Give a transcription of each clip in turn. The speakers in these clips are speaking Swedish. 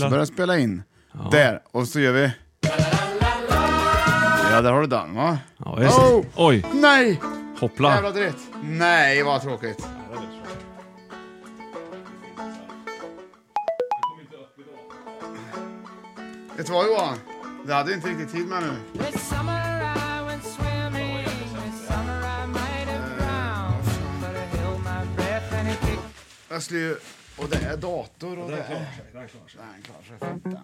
Så börjar jag spela in. Där, och så gör vi... Ja, där har du den va? Ja, just det. Oh! Oj, Nej! Jävla hoppla. dritt. Nej, vad tråkigt. Vet du vad Johan? Det hade jag inte riktigt tid med nu. Jag skulle ju... Och det är dator och det är... Nej, han klarar sig. Fittan.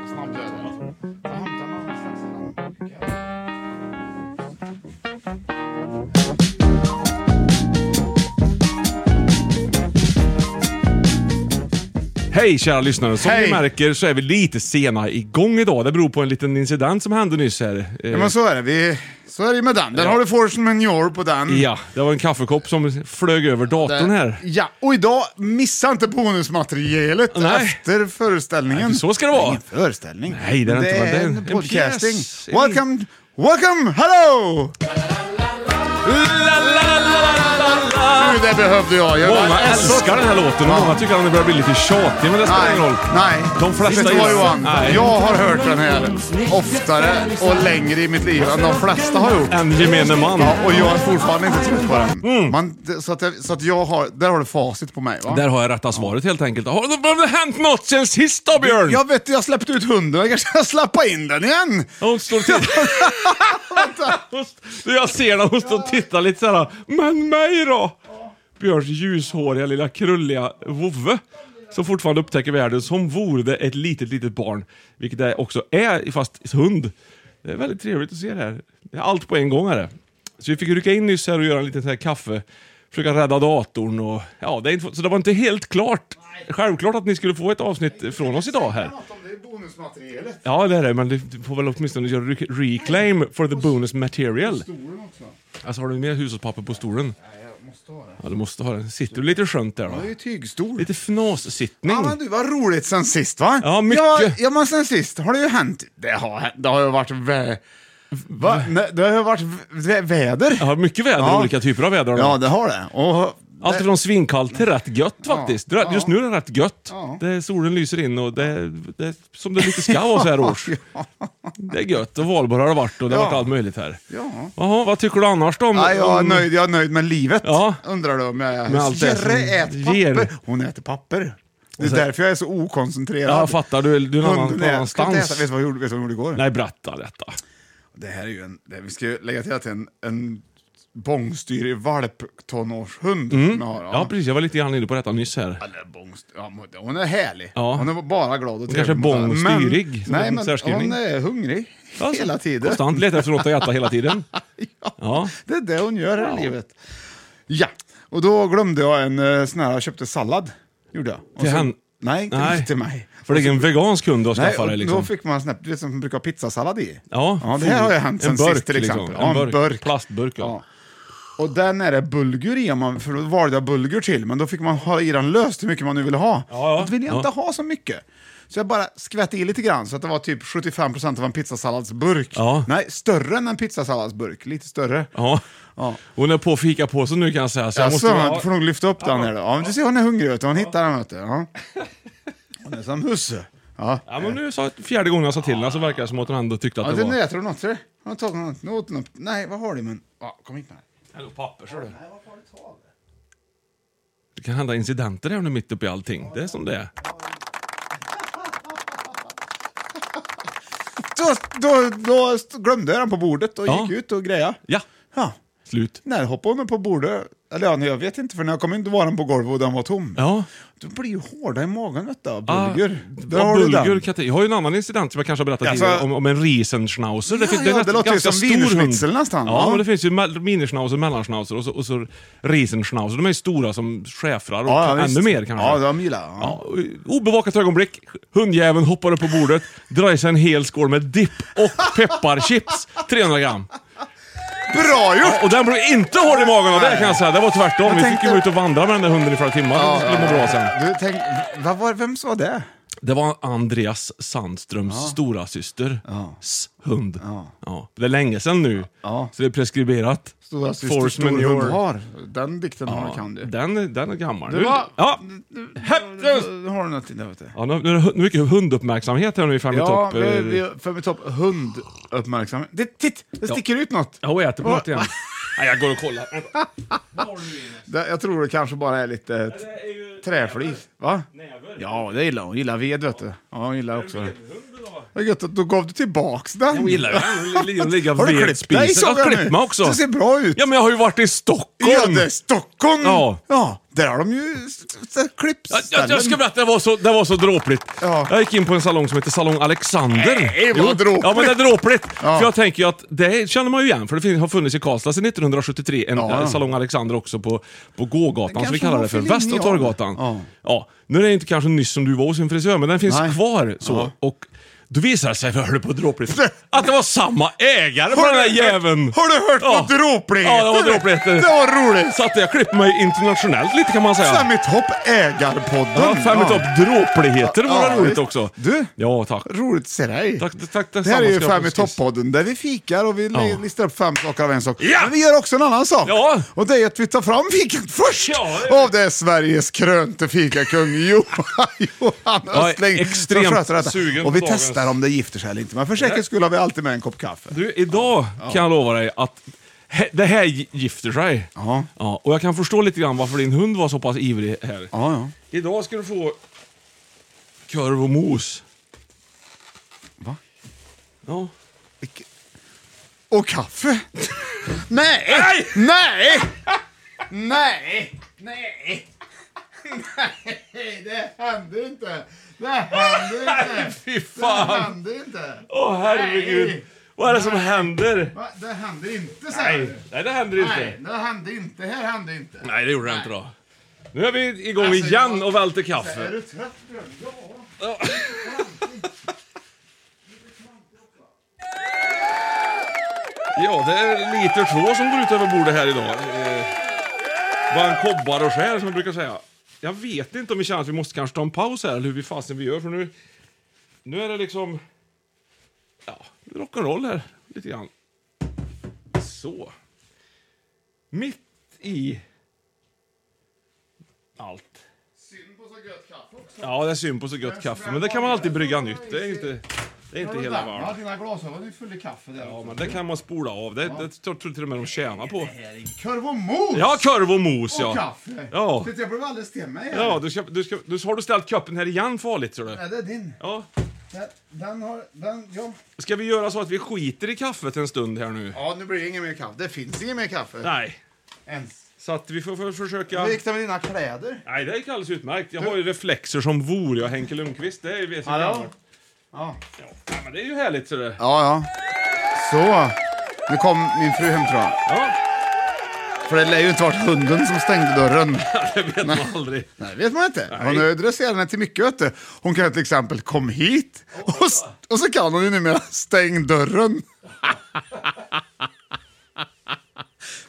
Vad snabb du är. där. Jag hämtar någon slags namn. Hej kära lyssnare. Som Hej. ni märker så är vi lite sena igång idag. Det beror på en liten incident som hände nyss här. Eh, Ja men så är det. Vi, så är det med den. Där har du Force Manure på den. Eh, ja, det var en kaffekopp som flög över datorn här. Ja, och idag, missa inte bonusmaterialet Nej. efter föreställningen. Nej, så ska det vara. Ingen föreställning. Nej, det är det inte, men det är är en en podcasting. pjäs. Welcome, welcome, hello! Nu, det behövde jag. jag Många jag är så älskar den här låten och Ja. många tycker att den börjar bli lite tjatig, men det spelar Nej, ingen roll. nej. De flesta Vet du vad gillar den. Johan? Nej. Jag har hört den här oftare och längre i mitt liv än de flesta har gjort. En gemene man. Mm. Ja, och jag är fortfarande inte trött på den. Man, så att, jag, så att jag har, där har du facit på mig va? Där har jag rätta svaret helt enkelt. Har det, har det hänt något sen sist då, Björn? Jag vet, jag släppte ut hunden, jag kanske ska släppa in den igen. Hon står och tittar. Du, jag ser när hon står och tittar lite såhär. Men mig då? Björns ljushåriga lilla krulliga vovve. Som fortfarande upptäcker världen som vore det ett litet, litet barn. Vilket det också är, fast hund. Det är väldigt trevligt att se det här. Det är allt på en gång är det. Så vi fick rycka in nyss här och göra en liten så här kaffe. Försöka rädda datorn och... Ja, det är inte, så det var inte helt klart. Självklart att ni skulle få ett avsnitt från oss idag här. Det är bonusmaterialet. Ja, det är det, men du du får väl åtminstone göra re- reclaim for the bonus material. Alltså har du mer hushållspapper på stolen? Ja, du måste ha den. Sitter du lite skönt där Det är då? ju tygstol. Lite fnassittning. Ja men du, vad roligt sen sist va? Ja, mycket. Ja, ja men sen sist har det ju hänt. Det har, hänt- det har ju varit vä... Va? Nej, det har ju varit vä väder. Jag har mycket väder, Ja. olika typer av väder. Ja, Ja, det har det. Och, Allt det- från svinkallt till rätt gött faktiskt. Det- Just nu är det rätt gött. Ja. Det, är- solen lyser in och det, är- det är som det lite ska vara så här års. Det är gött och valborg har det varit och det har Ja. varit allt möjligt här. Ja. Jaha, vad tycker du annars då? om- Nej, jag, är om- nöjd, jag är nöjd med livet, Mm. Ja. undrar du om jag är. Med allt det som Jerre äter ger. Alltså- papper. Hon äter papper. Det är därför jag är så okoncentrerad. Ja, jag fattar. Du är, du är någon annan- Hunden någon är, ska inte äta. Vet annanstans. du vad jag gjorde, vet du vad jag gjorde igår? Nej, berätta detta. Det här är ju en, det, vi ska ju lägga till att det är en, en bångstyrig valptonårshund som jag har. Mm. Ja, precis. Jag var lite grann inne på detta nyss här. Eller bångst, ja, men hon är härlig. Ja. Hon är bara glad och trevlig. kanske är mot alla. bångstyrig, Men- som Nej, en men särskrivning. hon är hungrig Ja, så- hela tiden. Konstant letar efter något att äta hela tiden. Ja, Ja. Det är det hon gör här i livet. Ja, och då glömde jag en eh, sån här, jag köpte sallad. Gjorde jag. Och Till så- han- Nej, inte Nej. till mig. För det är ingen vegansk hund du har Nej, skaffat dig och då liksom. fick man snabbt, du vet som man brukar ha pizzasallad i. Ja, det här har ju hänt en sen burk, sist till liksom. exempel. En Ja, burk. Plastburk, ja. Och den är det bulgur i, om man, för då valde jag bulgur till, men då fick man ha i den löst hur mycket man nu ville ha. Ja, ja. Då ville jag inte ha så mycket. Så jag bara skvätte i lite grann, så att det var typ 75% av en pizzasalladsburk. Ja. Nej, större än en pizzasalladsburk. Lite större. Ja. Ja. Hon är på fikapåsen nu kan jag säga. Så jag Jaså, måste du Alltså, får ha... nog lyfta upp den här då. Ja, men du ser, hon är hungrig, vet du. hon hittar den. Vet du. Ja. Hon är som husse. Ja. Ja, men nu sa fjärde gången jag sa till henne så verkar det som att hon ändå tyckte att Ja, det den var... äter hon något, ser du. Hon har tagit något. Nu åt hon upp. Nej, vad har du? Men, ja, kom hit med den. Hello, papper, ser du. Det kan hända incidenter här nu mitt uppe i allting. Det är som det är. Då, då, då st- glömde jag den på bordet och Ja. gick ut och grejade. Ja, Ja. slut. När hoppade hon på bordet? Eller ja, nej, jag vet inte, för när jag kom in då var den på golvet och den var tom. Ja. Du blir ju hårda i magen vet du, av bulgur. Ah, Där ja, har du bulgur kan den. jag, ta- jag har ju en annan incident som jag kanske har berättat Alltså- tidigare om, om en riesenschnauzer. Ja, ja, nästan- det låter ju ganska som stor hund. wienerschnitzel nästan. Ja, Ja. men det finns ju me- minischnauzer, mellanschnauzer och så, och så riesenschnauzer. De är ju stora som schäfrar och Ja, ja, ännu visst. mer kanske. Ja, de gillar jag. Ja, Ja. och obevakat ögonblick, hundjäveln hoppar upp på bordet, drar i sig en hel skål med dipp och pepparchips, 300 gram. Bra gjort! Och den blev inte hård i magen av det kan jag säga, det var tvärtom. Jag Vi fick tänkte- ju vara ute och vandra med den där hunden i flera timmar för att det skulle må bra sen. Du, tänk, vad var, vems var det? Det var Andreas Sandströms stora syster s hund. Ja. Det är länge sedan nu, Ja. så det är preskriberat. Stora syster Force stor manure. hund har. Den dikten har, Ja, kan du. Den, den är gammal. Du Nu- var- ja. Du- Hepp, du- Har du något i det? Vet du? Ja, nu, nu är det hu- mycket hunduppmärksamhet här nu i Fem i Ja, topp. eh. vi, vi, för med topp hunduppmärksamhet. Det, titt! Det sticker ut något. Jag och äter på Va? något igen. Nej, jag går och kollar. Vänta. Det, jag tror det kanske bara är lite t- träflis. Va? Ja, det gillar hon. Hon gillar ved, vet du. Ja, hon gillar också det. Vad gött att då gav du tillbaks den. Hon gillar ju den. Ligga Har du vid klippt dig spisen. såg Jag har jag klippt nu? mig också. Det ser bra ut. Ja, men jag har ju varit i Ja, Stockholm. det är Stockholm! Ja. ja. Där har de ju s- s- Jag, jag, klippställen. jag ska berätta, det var så, det var så dråpligt. Ja. Jag gick in på en salong som heter Salong Alexander. Nej, vad Jo. dråpligt. Ja, men det är dråpligt. Ja. För jag tänker ju att det känner man ju igen, för det fin- har funnits i Karlstad sedan 1973, en Ja. eh, Salong Alexander också på, på gågatan, som vi kanske kallar var det för, för länge, Västra ja. Torggatan. Ja. Ja. Nu är det inte kanske nyss som du var hos en frisör, men den finns Nej. kvar. Så. Och då visade det sig, för jag höll på dråpligt, att det var samma ägare på den där jäveln. Har du hört Ja. vad dråpligheter? Ja, det var dråpligheter. Det var roligt! Så att jag klippte mig internationellt lite kan man säga. Fem i topp ägarpodden. Ja, fem i topp. Dråpligheter vore Ja, roligt visst. också. Du? Ja, tack. Roligt att se dig. Tack, tack, tack, det här är ju detsamma, Fem i ska jag få topp-podden där vi fikar och vi Ja. listar upp fem saker av en sak. Ja! Men vi gör också en annan sak. Ja. Och det är att vi tar fram fikat först. Ja, det är- Och det är Sveriges krönte fikakung Johan, Johan är Östling som extremt sköter detta. sugen Och vi på dagens- testar om det gifter sig eller inte. Men för säkerhets skull har vi alltid med en kopp kaffe. Du, idag kan jag lova dig att he- det här gi- gifter sig. Ja. Ja, och jag kan förstå lite grann varför din hund var så pass ivrig här. Ja, ja. Idag ska du få korv och mos. Va? Ja. Vilke- Och kaffe? Nej! Nej! Nej! Nej! Nej! Nej, det händer inte! Det händer inte! Fy Det fan! händer inte! Åh herregud! Nej. Vad är det som händer? Va? Det händer inte, Nej, säger du? Nej det händer inte. Nej, det händer inte. Det här händer inte. Nej, det gjorde det inte då. Nu är vi igång Alltså, igen jag- och välter Så Är kaffe. du trött, Björn? Ja. Ja, det är liter två som går ut över bordet här idag. Eh, Vad en kobbar och skär som jag brukar säga. Jag vet inte om vi känner att vi måste kanske ta en paus här eller hur vi fasen vi gör för nu... Nu är det liksom... Ja, rock'n'roll här lite grann. Så. Mitt i... Allt. Synd på så gött kaffe också. Ja, det är synd på så gött kaffe, men det kan man alltid brygga nytt. Det är inte, det är inte hela världen. Ja, Dina glasögon är ju fulla i kaffe där Ja, också. men det kan man spola av. Det, det tror tror till och med de tjänar på. Korv och mos! Ja, korv och mos Och ja. kaffe! Ja. Titta, jag blev alldeles stel mig här. Ja, du ska, du ska, du, har du ställt koppen här igen farligt tror du? Nej, det är din. Ja. Den, den har... Den, ja. Ska vi göra så att vi skiter i kaffet en stund här nu? ja, nu blir det ingen mer kaffe. Det finns ingen mer kaffe. Nej. Ens. Så att vi får, får försöka... Hur gick det med dina kläder? Nej, det är alldeles utmärkt. Jag har ju reflexer som vore jag Henke Lundqvist. Det är ju vet jag Hallå? gammalt. Ja. ja, men det är ju härligt ser du. Ja, ja. Så. Nu kom min fru hem tror jag. Ja, För det lär ju inte varit hunden som stängde dörren. det vet man aldrig. Nej, vet man inte. Hon adresserar henne till mycket, vet du. Hon kan till exempel kom hit. Och, s- och så kan hon ju numera stäng dörren.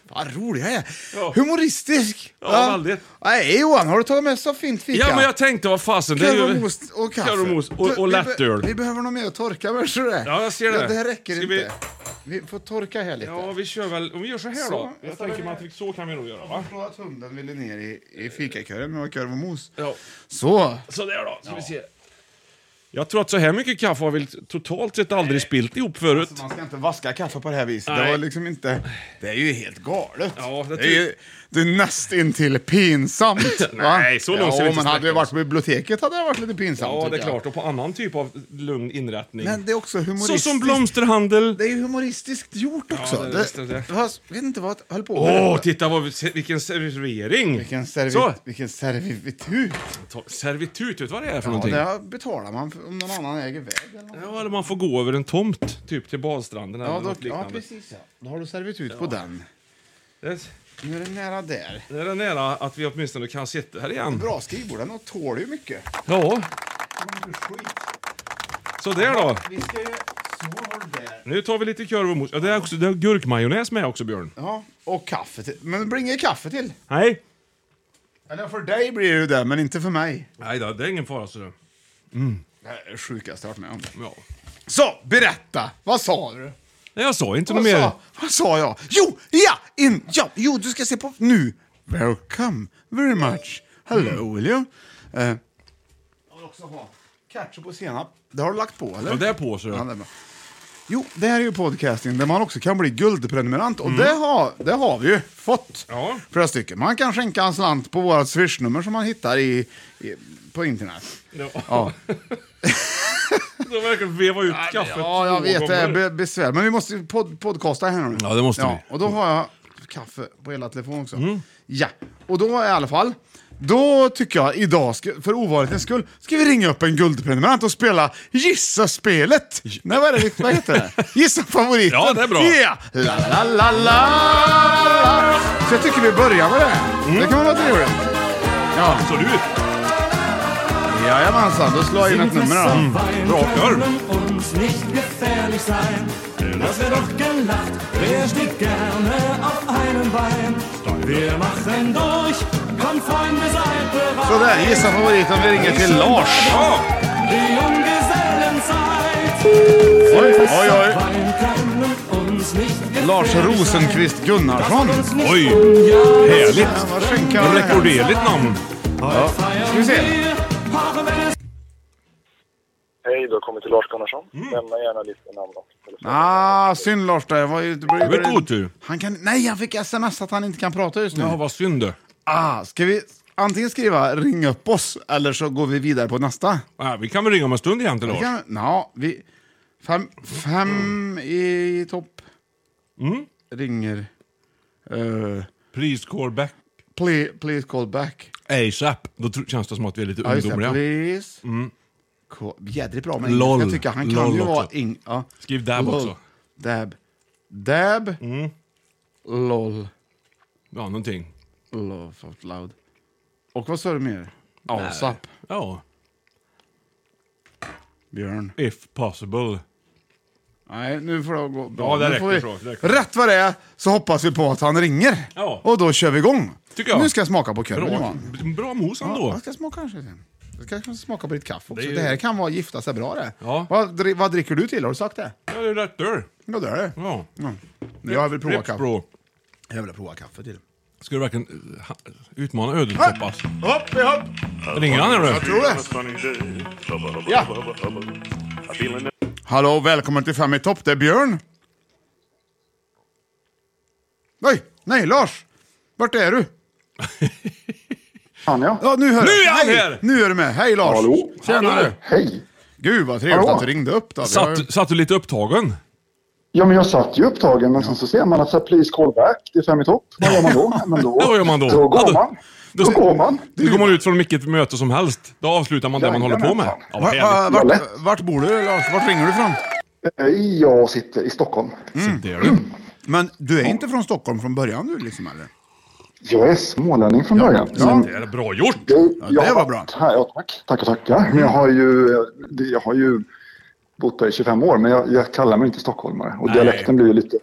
Vad rolig jag är. Ja. Humoristisk. Ja, väldigt. Nej, Johan, har du tagit med så fint fika? Ja, men jag tänkte, vad fasen, det är Korv och ju... most och kaffe. Korv och most och- Du, och vi be- lättöl. Vi behöver nog mer att torka, hörs du det? Ja, jag ser det. det här räcker Ska inte. vi- Vi... får torka här lite. Ja, vi kör väl... Om vi gör så här Så. då. Jag tänker mig att vi, så kan vi nog göra, va? Jag förstår att hunden ville ner i, i fikakören med korv och mos. Ja. Så. Sådär då, ska vi se. Jag tror att så här mycket kaffe har vi totalt sett aldrig spilt ihop förut. Alltså, Man ska inte vaska kaffe på det här viset. Nej. Det var liksom inte... Det är ju helt galet. Ja, det det, är ju, det är nästintill pinsamt. va? Nej, så långt ja, ska vi inte men hade vi sträcka varit på biblioteket hade det varit lite pinsamt. Ja, det är tycker jag. klart. Och på annan typ av lugn inrättning. Men det är också så humoristiskt. som blomsterhandel. Det är ju humoristiskt gjort också. det är det, visst det. Fast, jag vet inte vad jag höll på Åh, med. titta vad, vi- se- vilken servering! Vilken, servit, Så, vilken servitut. ta- servitut, vet du vad det är för Ja, någonting? det betalar man för, om någon annan äger väg eller något. Ja, eller man får gå över en tomt, typ till badstranden eller Ja, då, något ja, liknande. precis ja. Då har du servitut på den. det, Nu är det nära där. det är nära att vi åtminstone kan sitta här igen. Bra skrivbord, den tål ju mycket. Ja, sådär då. Vi ska ju slå hål där. Nu tar vi lite korv och mos. Ja, det är, också, det är gurkmajonnäs med också, Björn. Ja, och kaffe till. Men det blir inget kaffe till. Nej. Eller för dig blir det ju det, men inte för mig. Nej då, det är ingen fara. Så det. Det här är det sjukaste jag har varit med om. Ja. Så, berätta! Vad sa du? Nej, jag sa inte något Vad mer. sa, vad sa jag? Jo, ja, in, ja, jo, du ska se på nu. Welcome very much. Hello, will you? Eh, jag vill också ha ketchup och senap. Det har du lagt på, eller? Ja, det är på, så det. Ja, det är bra. Jo, det här är ju podcasting där man också kan bli guldprenumerant och det, har, det har vi ju fått. Ja. Flera stycken. Man kan skänka en slant på vårt swishnummer som man hittar i, i, på internet. Ja. De verkar veva ut kaffet Ja, jag två vet, det är gånger. be- besvär. Men vi måste ju pod podcasta här nu. Ja, det måste vi. Och då har jag kaffe på hela telefonen också. Mm. Ja, och då i alla fall. Då tycker jag idag, ska, för ovanlighetens skull, ska vi ringa upp en guldprenumerant och spela Gissa-spelet. Nej, vad, är det, vad heter det? Gissa favoriten. Ja, det är bra. Yeah. La, la, la, la, la. Så jag tycker vi börjar med det. här. Mm. Det kan vara trevligt. Ja, Absolut. jajamensan, då slår jag in ett nummer här. Bra korv. uns nicht gefährlich sein. Denn das wird doch gelacht, wer steht gerne auf einem Bein? Wir machen durch, komm Freunde, seid bereit. Sådär, gissa favoriten. Vi ringer till Lars. Ja, Die Junggesellenzeit. Oj, oj, oj. Wein kann uns nicht gefährlich Lars Rosenqvist Gunnarsson. Nicht Oj. unjagen. härligt. Vad skänker han här? Rekorderligt namn. Ska vi se. Wir brauchen, wenn es Hej, du har kommit till Lars Gunnarsson. Lämna gärna ditt namn och telefon. Mm. Ah, synd Lars där. Jag var ju... Det Det var blev- ett otur. Han kan... Nej, han fick sms att han inte kan prata just nu. Ja, vad synd du. Ah, ska vi antingen skriva ring upp oss eller så går vi vidare på nästa? Ja, vi kan väl ringa om en stund igen till Vi Lars. kan... Ja, vi... Fem, fem i topp. Mm. Ringer. Eh, Please call back please, please call back. ASAP. Då tr- känns det som att vi är lite Ja, just det. ungdomliga. Mm. Please. Ko- Jädrigt bra med Lol. engelska tycker jag. Han kan Lol ju vara... också. Ing- ja. Skriv dab Lol. också. Mm. Dab. Dab. LOL. Ja, någonting. Love out loud. Och vad sa du mer? Äh, ASAP. Ja. Björn. If possible. Nej, nu får det gå bra. Ja, det Nu räcker får vi, så, det räcker. Rätt vad det är så hoppas vi på att han ringer. Ja. Och då kör vi igång. Tycker jag. Nu ska jag smaka på korven Bra, Johan. bra mos Ja, ändå. jag ska smaka kanske sen. Jag ska kanske smaka på ditt kaffe också. Det Det, är ju- här kan vara gifta sig bra det. Ja. Vad, dri- vad dricker du till? Har du sagt det? Ja, det är rätt dörr. Ja, det är det. Ja. Ja. Jag vill prova Rips kaffe. bro. Jag vill prova kaffe till. Ska du verkligen eh, ha- utmana ödet hoppas? Hopp, hopp! Ringer han eller? Jag tror det. Ja. Hallå, välkommen till Fem i topp. Det är Björn. Nej, nej, Lars. Vart är du? Fan, ja. Ja, nu hör Nu jag. är han Hej, här! Nu är du med. Hej Lars. Hallå. Tjena du. Hej! Gud vad trevligt Hallå. att du ringde upp. Då. Vi har ju- Satt, satt du lite upptagen? Ja, men jag satt ju upptagen, men sen så ser man att så här, please call back, det är fem i topp. Vad gör man då? Ja, Men då, Ja, vad gör man då? då Alltså, Ja, då- går man. Då går man. Då går man ut från vilket möte som helst. Då avslutar man det man håller på med. Jajamensan. Ja, vad Va- va- härligt. Vart, vart bor du Lars? Vart ringer du ifrån? Mm. Eh, Jag sitter i Stockholm. Det gör det. Men du är inte från Stockholm från början du liksom eller? Jag är smålänning från början. ja, men Det är bra gjort! det, jag det har var varit bra. Här, ja, tack, tackar, tackar. Men jag har ju, eh, det- jag har ju bott här i 25 år, men jag, jag kallar mig inte stockholmare. Och dialekten blir ju lite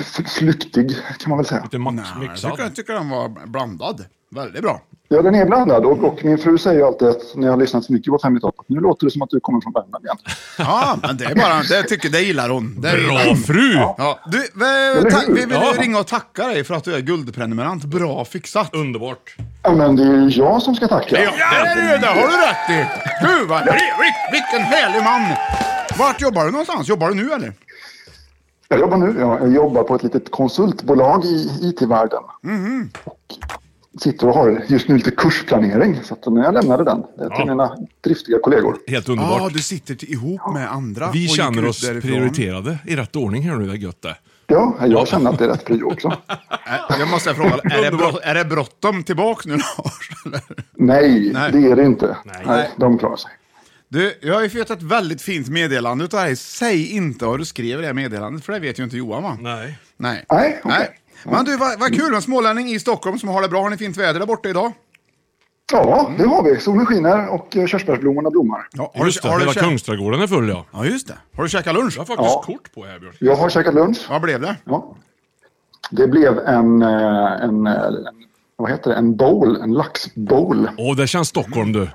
f- flyktig kan man väl säga. Lite max, Nej, jag mixad. tycker, jag tycker den var blandad. Väldigt bra. Ja, den är blandad och, och min fru säger ju alltid att när jag har lyssnat så mycket på Fem i topp att nu låter det som att du kommer från Värmland igen. Ja, men det är bara, det tycker, det gillar hon. Det gillar Bra hon. fru! Ja, du, vi, Eller ta, hur? vi vill Ja. ju ringa och tacka dig för att du är guldprenumerant. Bra fixat. Underbart. Ja, men det är ju jag som ska tacka. Ja, det, är det, ju, det har du rätt i! Gud vad trevligt! Vilken härlig man! Vart jobbar du någonstans? Jobbar du nu eller? Jag jobbar nu. ja. Jag jobbar på ett litet konsultbolag i IT-världen. Mhm. Och sitter och har just nu lite kursplanering. Så att när jag lämnade den eh, till mina driftiga kollegor. Helt Ja, underbart. du sitter till, ihop med andra. Vi och gick känner ut oss därifrån. prioriterade i rätt ordning här nu. Det är gött det. Ja, jag känner att det är rätt prio också. Äh, Jag måste fråga, är det, brott, är det bråttom tillbaka nu Lars? eller? Nej, Nej. det är det inte. Nej. de klarar sig. Du, jag har ju fått ett väldigt fint meddelande utav dig. Säg inte vad du skrev i det här meddelandet, för det vet ju inte Johan va? Nej. Nej. Nej, okej. Mm. Men du, vad, vad kul, en smålänning i Stockholm som har det bra. Har ni fint väder där borta idag? Ja, det har vi. Solen skiner och eh, körsbärsblommorna blommar. Ja, Just det, hela Kungsträdgården är full ja. Ja, just det. Har du käkat lunch? Jag har faktiskt Ja. kort på här Björn. Jag har käkat lunch. Vad blev det? Ja. Det blev en, eh, en, eh, en, vad heter det? en bowl, en laxbowl. Åh, det känns Stockholm du.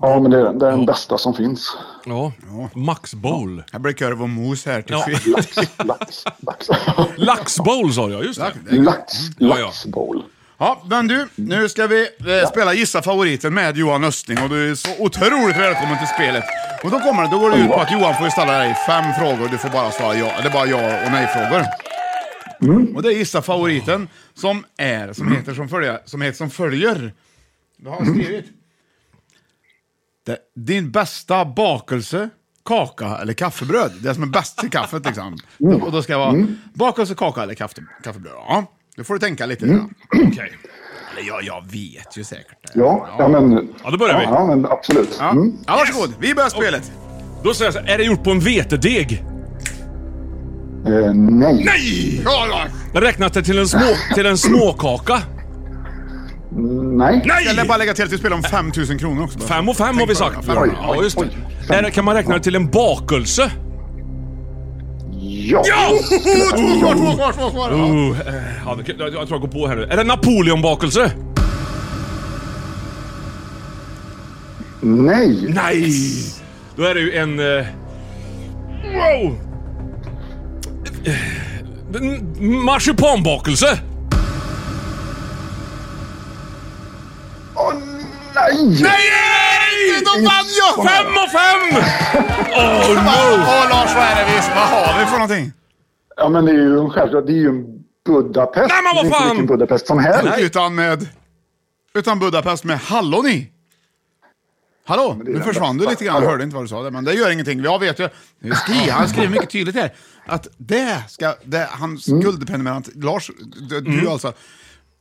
Ja, men det är, den- det är den bästa som finns. Ja. Max Bowl. Här blir korv och mos här till Ja. fri- Lax, lax, Lax Bowl sa jag, just det. lax, Ja, ja. laxbowl. Ja, men du, nu ska vi eh, spela Gissa favoriten med Johan Östling och du är så otroligt välkommen till spelet. Och då kommer det, då går det ut på att Johan får ställa dig fem frågor, du får bara svara ja, eller bara ja och nej-frågor. Mm. Och det är Gissa favoriten som är, som heter som följer, som heter som följer. Vad har jag skrivit? Det, din bästa bakelse, kaka eller kaffebröd. Det som är bäst till kaffet liksom. Mm. Och då ska jag vara bakelse, kaka eller kaffe, kaffebröd. Ja, då får du tänka lite. Mm. Okej. Eller Ja, jag vet ju säkert det. Ja, ja, men, Ja, då börjar vi. ja, ja, men absolut. Ja, Mm. ja varsågod. Vi börjar spelet. Då säger jag så här, är det gjort på en vetedeg? Eh, nej. Nej! Ja, Lars! Räknas det till en, små, till en småkaka? nej. Jag lär bara lägga till att vi spelar om 5000 kronor också. bara. Fem och fem har vi sagt. Fem och Björn. fem. Ja, just Oj, oj, det. fem. Är det. Kan man räkna det till en bakelse? Ja! Ja! Två kvar, två kvar, två kvar! Ja. Oh, eh, ja, det- jag, jag tror jag går på här nu. Är det Napoleonbakelse? Nej. Nej! Då är det ju en... eh, Wow! Eh, m- Marsipanbakelse! Åh, nej! Nej! Då vann jag! Fem och fem! Oh Åh no! Lars, vad är det vi... Vad har vi för någonting? Ja, men det är ju en självklart. Det är ju en Budapest. Nej, men vad Det är inte fan! vilken Budapest som helst. Utan med... Utan Budapest med hallon i. Hallå, är nu den försvann du bästa. lite grann. Hallå. Jag hörde inte vad du sa där, men det gör ingenting. Jag vet ju. Skri, han skriver mycket tydligt här. Att det ska... Det, hans guldprenumerant Lars, du, du alltså,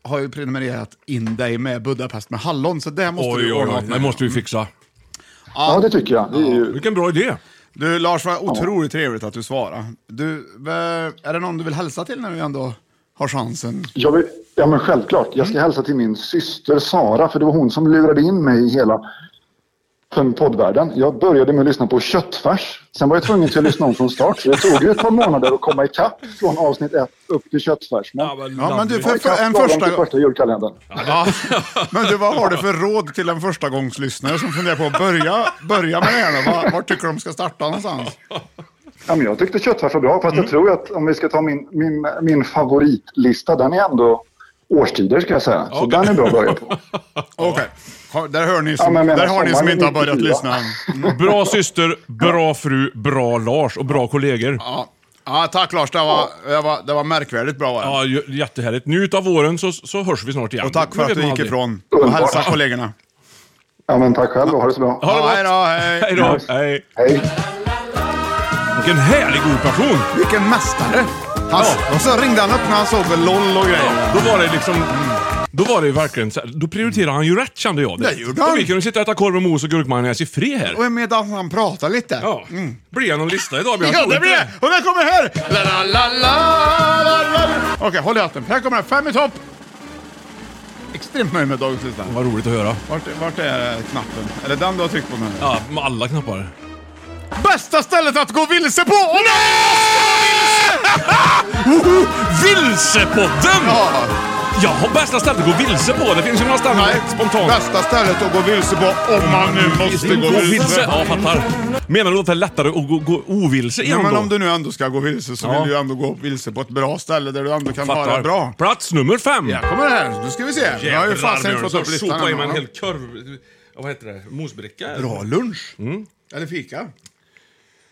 har ju prenumererat in dig med Budapest med hallon, så det måste Oj, du oj, ordna oj. åt Det mig. måste vi fixa. Ja, det tycker jag. Det är ju... Vilken bra idé. Du Lars, vad otroligt trevligt att du svarade. Du, eh, är det någon du vill hälsa till när du ändå har chansen? jag vill... Ja, men självklart. Jag ska hälsa till min syster Sara, för det var hon som lurade in mig i hela fem poddvärlden. Jag började med att lyssna på köttfärs. Sen var jag tvungen till att lyssna om från start, så det tog ju ett par månader att komma ikapp från avsnitt ett upp till köttfärs. Men... Ja, men du, jag var för, för en ikapp lagom till första... första julkalendern. Ja, men du, vad har du för råd till en förstagångslyssnare som funderar på att börja, börja med det här? då? Var, var tycker de ska starta någonstans? Ja, men jag tyckte köttfärs var bra, fast jag tror att om vi ska ta min, min, min favoritlista, den är ändå årstider ska jag säga. Så den är bra att börja på. Okej, Har- där hör ni som, men jag menar, där har ni som sommaren inte har är börjat mycket lyssna bra. än. Bra syster, bra fru, bra Lars och bra kollegor. Ja. Ja, tack Lars, det var, det var, det var märkvärdigt bra var det. Ja, ju- jättehärligt. Njut av våren så, så hörs vi snart igen. Och tack för Det att vet du man gick aldrig. ifrån och hälsa kollegorna. Ja, men tack själv och ha det så bra. Ha det Ja, hej gott. då, hej. Hej då. Hej. Hej. Vilken härlig god person. Vilken mästare! Han, Och så ringde han upp när han såg väl LOL och grejer. Då var det liksom... Då var det ju verkligen så här, Då prioriterade han ju rätt kände jag. Det gjorde han. Och vi kunde sitta och äta korv och mos och gurkmajonnäs i fred här. Och medan han pratade lite. Ja. Blir det någon lista idag Björn? Ja, Tror det inte blir det! Och den kommer här! La, la, la, la, la, la. Okej, håll i hatten. Här kommer den. Fem i topp! Extremt nöjd med dagens lista. Vad roligt att höra. Vart, vart är knappen? Är det den du har tryckt på nu? Ja, med alla knappar. Bästa stället att gå vilse på! Åh nej! Woho! Vilsepodden! Ja. Ja, bästa stället att gå vilse på. Det finns ju några ställen Nej, spontant. Bästa stället att gå vilse på om man nu måste gå vilse. Ja, fattar. Menar du att det är lättare att gå, gå ovilse Ja, igen men då? om du nu ändå ska gå vilse så Ja. vill du ändå gå vilse på ett bra ställe där du ändå kan Fattar. vara bra. Plats nummer fem. Ja, kommer det här. Nu ska vi se. Jag har ju fasen inte fått upp listan sopade i än, mig en va? hel korv... ja, Vad heter det? Mosbricka? Bra lunch. Eller fika.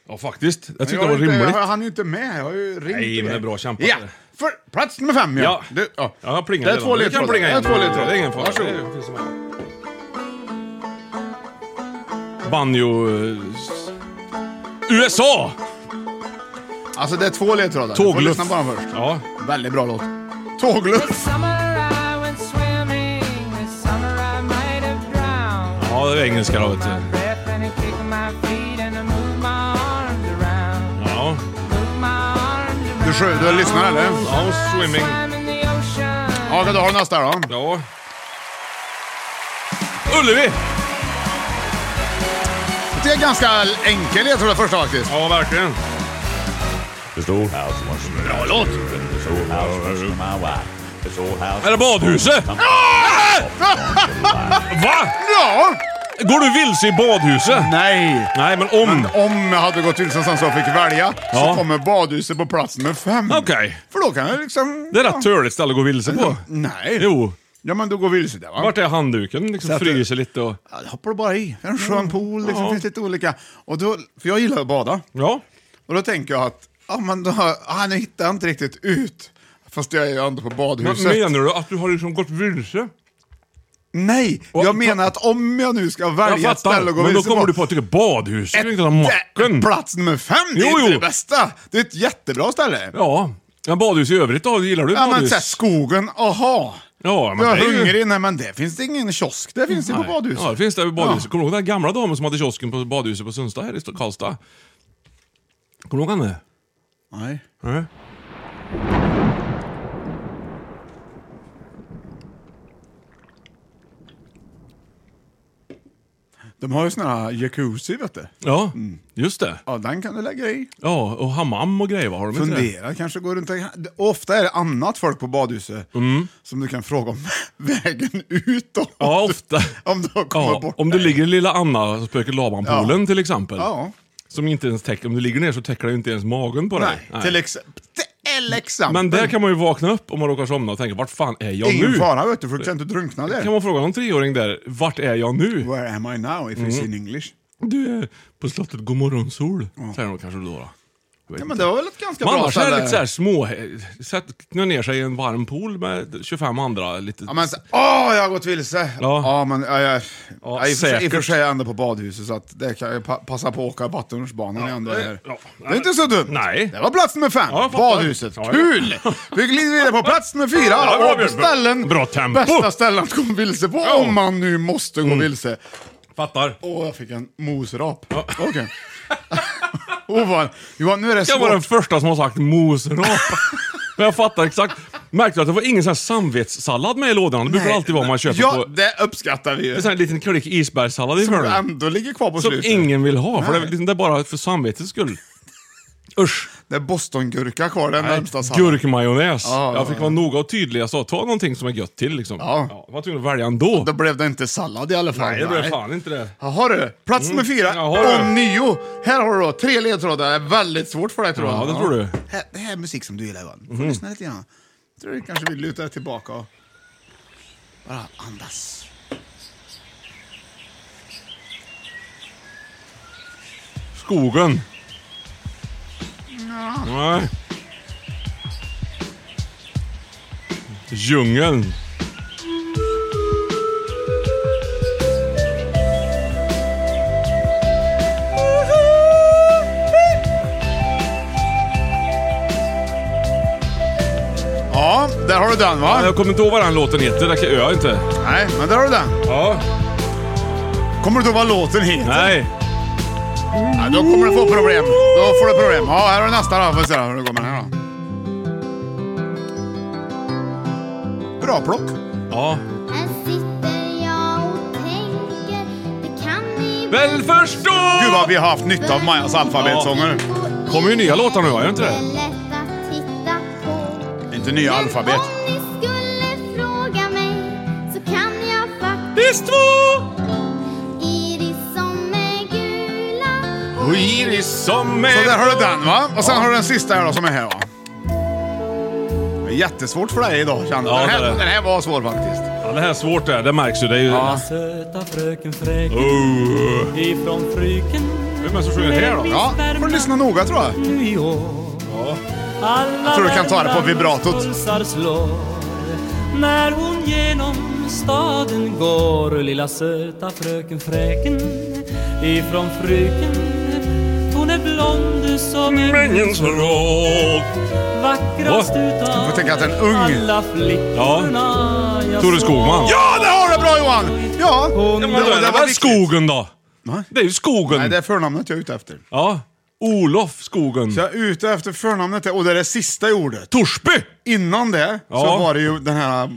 Ja, faktiskt. Jag Men tyckte Mm. det var har inte, rimligt. jag hann ju inte med. Jag har ju ringt. Nej, och men det är grejer. bra kämpat. Ja, för plats nummer fem ja. Ja. Det, ja. Ja, jag plingar det är två redan. Du ledtrådar. kan plinga igen. Det är två ledtrådar. Det är ingen fara. Varsågod. Det finns som helst. Banjo... eh, s- USA! Alltså det är två ledtrådar. Du får Tågluff. lyssna på den först. Ja. Väldigt bra låt. Tågluff. ja, det är engelska då, vet du. Ja. Du, sjö, du lyssnar eller? ja, swimming. Ja, då har du nästa då. Ja. Ullevi! Det är ganska enkel jag tror det första faktiskt. Ja, verkligen. Bra låt! Är det badhuset? Va? Ja! Går du vilse i badhuset? Nej! Nej, men om. Om jag hade gått till sen så fick välja Ja. så kommer badhuset på plats nummer fem. Okej. För då kan jag liksom... Det är rätt törligt ställe att gå vilse på. Nej. Jo. Ja men då går vi vilse där va? Vart är handduken? Så Liksom att- fryser lite och... Ja, det hoppar du bara i. Det är en skön pool, liksom, Mm. Ja. finns lite olika. Och då, för jag gillar att bada. Ja. Och då tänker jag att, ja men då, ah, nu hittar jag inte riktigt ut. Fast jag är ju ändå på Men badhuset. menar du att du har liksom gått vilse? Nej, Och- jag menar att om jag nu ska Jag välja ett ställe fattar. att gå Men då vilse kommer på, du på att tycka badhuset är inte den macken. ett, plats nummer fem, det är Jo, inte jo. det bästa. Det är ett jättebra ställe. Ja, Ja. Ja, badhus i övrigt då? Gillar du men badhus? såhär, skogen, aha. ja, Jag är det är ju- hungrig, nej men det finns det ingen kiosk, det finns det på Nej. badhuset. Ja, det finns det på badhuset. Kommer du ihåg den där gamla damen som hade kiosken på badhuset på Sundsta här i St- Karlstad? Kommer du ihåg henne? Nej. Nej. De har ju såna här jacuzzi vet du. Ja, Mm. just det. Ja, den kan du lägga i. Ja, och hammam och grejer, vad har de inte det? Fundera, kanske gå runt och... Ofta är det annat folk på badhuset som du kan fråga om vägen ut då. Mm. Ja, ofta. Om du har kommit Ja, bort. om du ligger i lilla Anna och spöket Laban-poolen till exempel. Ja. Som inte ens täcker, om du ligger ner så täcker det ju inte ens magen på dig. Nej, Till, ex... till exempel. Men där kan man ju vakna upp om man råkar somna och tänka, vart fan är jag Ingen nu? fara vet du, för du kan inte drunkna där. Kan man fråga någon treåring där, vart är jag nu? Where am I now if Mm. it's in English? Du är på slottet Gomorron-sol, säger de kanske då. då. Jag vet Ja, men inte. det var väl ett ganska Men bra annars är det ställe. lite såhär små... Sätt, knö ner sig i en varm pool med 25 andra. Lite, Ja men så- åh jag har gått vilse! Ja. men ja, Ja, jag, ja, i, och för sig- i och för säkert. sig är jag ändå på badhuset så att det kan jag pa passa på att åka vattenrutschbanan när jag ändå är här. ja. Det är inte så dumt! Nej. Det var plats nummer fem, Ja, jag fattar. badhuset. Ja, ja. Kul! Vi glider vidare på plats nummer fyra, Ja, bra, och på Björn. Bra- ställen, bra tempo. Mm. bästa ställen att gå vilse på om man nu måste gå vilse. Fattar. Åh, jag fick en mosrap. Okej. Åh, vad- Johan, nu är det Jag var den svårt. första som har sagt mosrap. men jag fattar exakt. Märkte du att det var ingen sån här samvetssallad med i lådan? Det brukar Nej. alltid vara om man köper Ja, på... Det det uppskattar vi är en ju. sån här liten klick isbergssallad i Som hörnet. ändå ligger kvar på Som slutet. ingen vill ha, för det, är Nej. liksom, det är bara för samvetets skull. Usch. Det är bostongurka kvar den närmsta salladen. Gurkmajonnäs. Ja, ja, jag fick vara noga och tydlig. Jag sa, ta någonting som är gött till liksom. Ja. jag var tvungen att välja ändå. Då blev det inte sallad i alla fall. Nej, det blev fan inte det. Jaha du, plats nummer fyra Jaha du. och nio. Här har du då tre ledtrådar. Det är väldigt svårt för dig tror Ja, jag. det tror du. Mhm. Här, det här är musik som du gillar Johan. Du får lyssna lite grann. Jag tror du kanske vill luta dig tillbaka och bara andas. Skogen. Nej. Djungeln. Ja, där har du den va? Ja, jag kommer inte ihåg vad den låten heter, det kan jag inte. Nej, men där har du den. Ja. Kommer du ihåg vad låten heter? Nej. Ja, då kommer du få problem. Då får du problem. Ja, här har du nästa då. Får vi se hur det går med den här då. Bra plock. Ja. Här sitter jag och tänker, det kan ni Väl förstå! Gud vad vi har haft nytta av Majas alfabetsånger. gå in Kommer ju nya låtar nu, va? Gör det inte det? och lätta till. inte nya alfabet. Om ni skulle fråga mig så kan jag faktiskt Visst två! Iris som är gula Och Iris som Så där är... har du den va? Och sen har du den sista här då som är här va? Det är jättesvårt för dig idag känner jag. Ja, Den det här, är det. den här var svår faktiskt. Ja, det här är svårt det här, det märks ju. Det är ju... Ja. Söta fröken Fräck Oh. ifrån Fryken. Vem är det som sjunger här då? Ja, får du lyssna noga tror jag. nu i år. Alla tror du kan ta det på vibratot. Värmlands pulsar slår när hon genom staden går. Lilla söta fröken Fräken ifrån Fryken. Hon är blond som en Mängdens rock. vackrast Åh, utav får tänka att en ung- alla flickorna. Ja. Tore Skogman. Ja, det har du bra Johan! Ja, Ja, men då är det väl viktigt. skogen då? Nej. Det är ju skogen. Nej, det är förnamnet jag är ute efter. Ja. Olof Skogen. Så jag är ute efter förnamnet och det är det sista i ordet. Torsby! Innan det Ja. så var det ju den här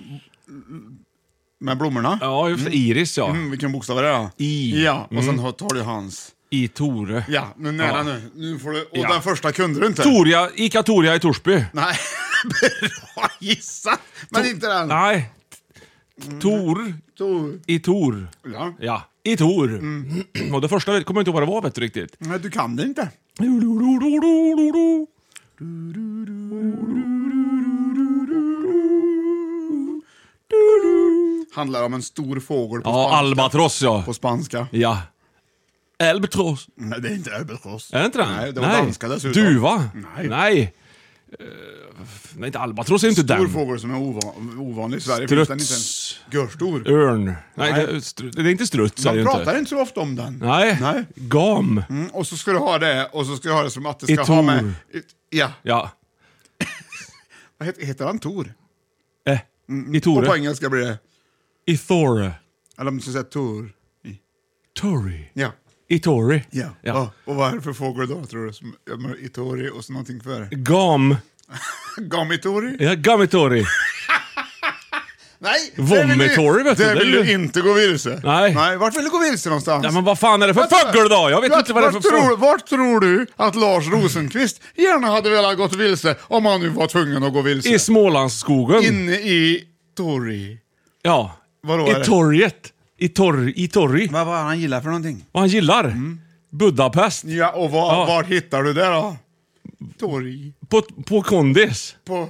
med blommorna. Ja, just det. Iris ja. Mm, vilken bokstav är det då? I. Ja, och sen har- tar du hans. I Tore. Ja, nu nära Ja. nu. nu får du, och Ja. den första kunde du inte. Toria, Ica Toria i Torsby. Nej, bra gissat! Men inte den. Nej. Mm. Tor Tor. i Tor. Ja. Ja, i Tor. Mm. Och det första vet- kommer jag inte ihåg vad det var vet du riktigt. Nej, du kan det inte. Handlar om en stor fågel på, Ja, spanska. Albatross ja. på spanska. Ja. Albatross. Nej, det är inte överkross. Är det inte den? Nej, det var danska dessutom. Duva? Nej. Nej. Eh, nej, inte albatross är inte Stor den. fågel som är ova- ovanlig i Sverige. Struts. Den inte ens. Struts. Görstor. Örn. Nej, Nej. Det, är stru- det är inte struts. är det Man ju pratar inte. inte så ofta om den. Nej. Nej. Gam. Mm, och så ska du ha det, och så ska du ha det som att det ska I Tor. ha med... Ja. Ja. Vad heter, heter han? Tor? Eh. I Mm, Och på Tore. engelska blir det... I Thore. Eller om du ska säga Tor. Tori. Ja. I Tori. Ja. ja. Och, och vad är det för fågel då, tror du? Som, ja, men itori och så någonting för... Gam. Gamitori? Ja, Gamitori. Nej! Vomitori, vet du, Där det är vill ju- du inte gå vilse. Nej. Nej, vart vill du gå vilse någonstans? Ja, men vad fan är det för fågel då? Jag vet Vart- inte vad det är för vart tror, fågel. vart tror du att Lars Rosenqvist gärna hade velat gått vilse om han nu var tvungen att gå vilse? I Smålandsskogen. Inne i Tori. Ja. Vadå, I är det? torget. I, torg, I torri. Vad var han gillar för någonting? Vad han gillar? Mm. Budapest. Ja, och var, Ja. var hittar du det då? Tori. På, på kondis. På...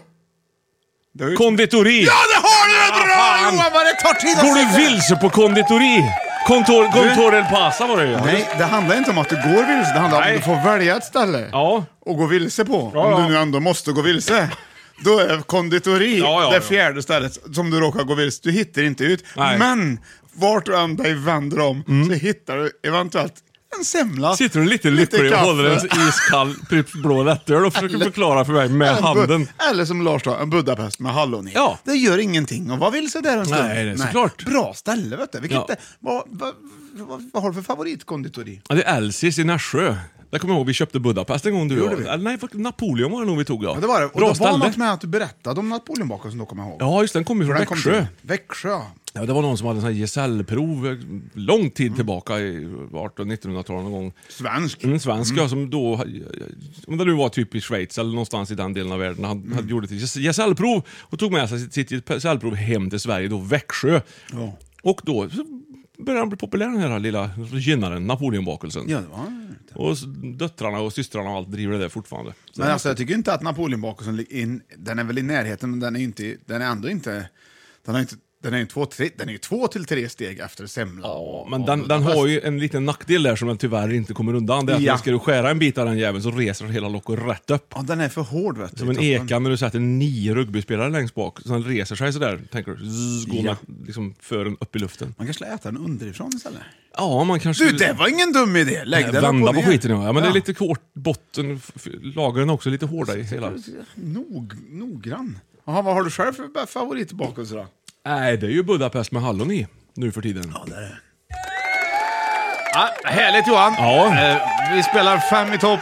Det är ju- Konditori. Ja, det har du! Det är bra fan. Johan, vad det tar tid att Går säga. du vilse på konditori? Kontor, kontor El Pasa var det ju. Nej, det handlar inte om att du går vilse. Det handlar om Nej. att du får välja ett ställe Ja. och gå vilse på. Ja, Om ja. du nu ändå måste gå vilse. Då är konditori Ja, ja, det ja. fjärde stället som du råkar gå vilse. Du hittar inte ut. Nej. Mm. Men vart du än dig vänder om så hittar du eventuellt en semla. Sitter du lite lycklig och kaffe. håller en iskall Pripps blå lättöl och försöker förklara för mig med En bu- handen. Eller som Lars sa, en Budapest med hallon i. Ja. Det gör ingenting att vara vilse där en stund. Nej, det är såklart. Bra ställe vet du. Vilket Ja. det- vad, vad, vad, vad har du för favoritkonditori? Ja, det är Elsis i Nässjö. Där kommer jag ihåg vi köpte Budapest en gång du och Gjorde vi? jag. Eller Nej, fuck, Napoleon var det nog vi tog ja. Ja, det var det. Och Bra det var ställe. något med att du berättade om napoleonbakelsen då, kommer jag ihåg. Ja, just det, den kom ju För från den kom Växjö. till Växjö. Ja, det var någon som hade en sån här gesällprov eh, lång Mm. tid tillbaka i 1800-1900-talet någon gång. Svensk. En svensk ja, som då, om det nu var typ i Schweiz eller någonstans i den delen av världen, han, han gjorde ett ges- gesällprov och tog med sig sitt, sitt gesällprov hem till Sverige, då Växjö. Ja. Och då så började han bli populär den här lilla gynnaren, Napoleonbakelsen. Ja, det var han. Och s- döttrarna och systrarna och allt driver det där fortfarande. Så, Men alltså jag tycker inte att napoleonbakelsen, lig- in- den är väl i närheten, men den är ju inte, den är ändå inte, den är inte den är ju två, tre, den är ju två till tre steg efter semla. ja, och- men och den, den Budapest. har ju en liten nackdel där som den tyvärr inte kommer undan. Det är att Ja. när ska du skära en bit av den jäveln så reser hela locket rätt upp. Ja, den är för hård vet du. Som i en toppen. eka när du sätter nio rugbyspelare längst bak, så han reser sig sådär, tänker du, zzz, går Ja. med liksom, fören upp i luften. Man kanske lär äta den underifrån istället. Ja, man kanske... Du, det var ingen dum idé! Lägg den upp Vända och på ner. skiten ja. ja men det är lite hårt botten, f- f- lagren också, lite hårda i hela. Nog, noggrann. Jaha, vad har du själv för favoritbakelse då? Nej, det är ju Budapest med hallon i nu för tiden. Ja, det är det. Ja, härligt Johan! Ja. Eh, vi spelar fem i topp.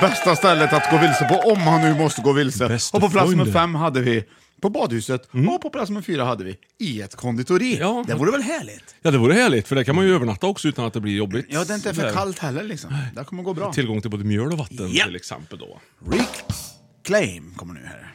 Bästa stället att gå vilse på, om han nu måste gå vilse. Bästa och på plats nummer Freunde. fem hade vi på badhuset och på plats nummer fyra hade vi i ett konditori. Ja. Det vore väl härligt? Ja, det vore härligt, för där kan man ju övernatta också utan att det blir jobbigt. Ja, det är inte Där. för kallt heller liksom. Det kommer gå bra. Tillgång till både mjöl och vatten Ja. till exempel då. Reclaim kommer nu här.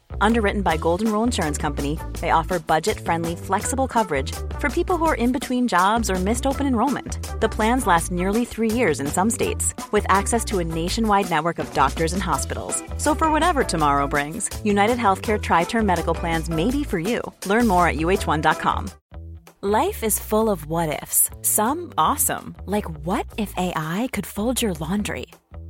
Underwritten by Golden Rule Insurance Company, they offer budget friendly, flexible coverage for people who are in between jobs or missed open enrollment. The plans last nearly three years in some states, with access to a nationwide network of doctors and hospitals. So, for whatever tomorrow brings, United Healthcare Tri Term Medical Plans may be for you. Learn more at uh1.com. Life is full of what ifs. Some awesome, like what if AI could fold your laundry?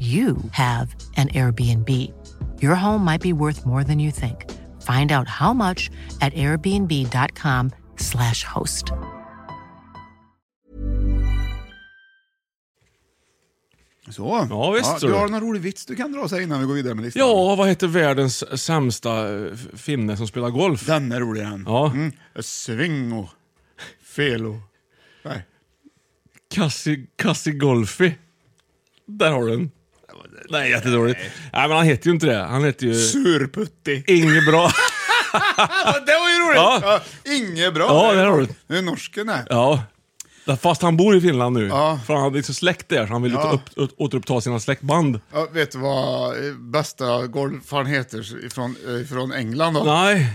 you have an Airbnb. Your home might be worth more than you think. Find out how much at airbnb.com/slash host. Så. Ja, visst, så. du har någon rolig vits du kan dra sig innan vi går vidare med listan? Ja, vad heter världens sämsta eh, f- finne som spelar golf? Den är rolig den. Ja. Mm. Svingo. Felo. Nej. Cassi, Cassi Golfi. Där har du den. Nej, jättedåligt. Nej, men han heter ju inte det. Han heter ju... Surputti. Inget bra. Ja, det var ju roligt! Ja. Ja. Inget bra. Ja, det är roligt. Det är norsken här. Ja. Fast han bor i Finland nu. Ja. För han hade liksom släkt där, så han ville Ja. upp, upp, återuppta sina släktband. Ja, vet du vad eh, bästa golfaren heter från, från England då? Nej.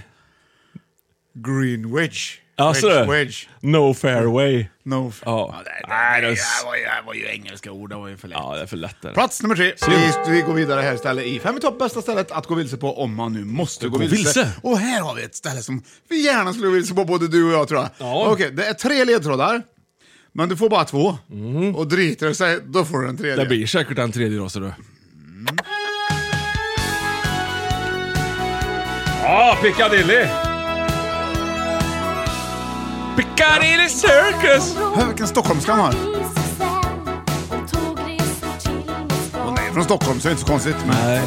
Green Wedge. Alltså wedge, det. wedge. No fairway. No. Ja. det, det, Nej, Nej, det det, är det, s- var ju, det var ju engelska ord, det var ju för lätt. Ja, det är för lätt där. Plats nummer tre. Vi, vi går vidare här istället i Fem i topp, bästa stället att gå vilse på om man nu måste Gå gå vilse. vilse. Och här har vi ett ställe som vi gärna skulle gå vilse på, både du och jag tror jag. Ja. Okej, det är tre ledtrådar, men du får bara två. Och driter det sig, då får du en tredje. Mm. Det blir säkert en tredje då, ser du. Mm. Ja, Piccadilly! Piccadilly Circus! Hör vilken stockholmska han har. Hon är från Stockholm så det är inte så konstigt. Men... Nej.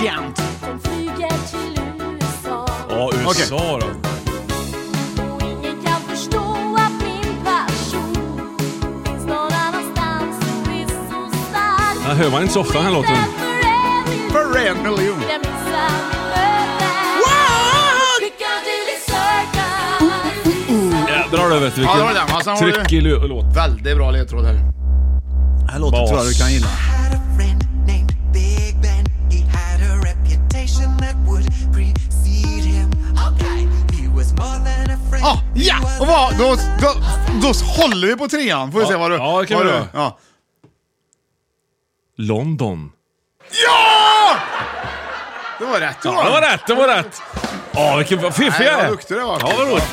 Tjent. Ja, USA då. Den hör man inte så ofta den här låten. För en miljon. Jädrar du vet vilken Ja, det var den. Och sen har du- tryck i lu- låt. Väldigt bra ledtråd här. Den här låten Bas. tror jag du kan gilla. Ah, ja! Och vad, då, då, då håller vi på trean. Får vi Ja, se vad du... ja, det kan vad vi du- göra. ja. London. ja! Det var rätt. Ja, det var rätt, det var rätt. Ja, vilken vad fiffig Nej, jag är. vad duktig du var. Ja, vad roligt.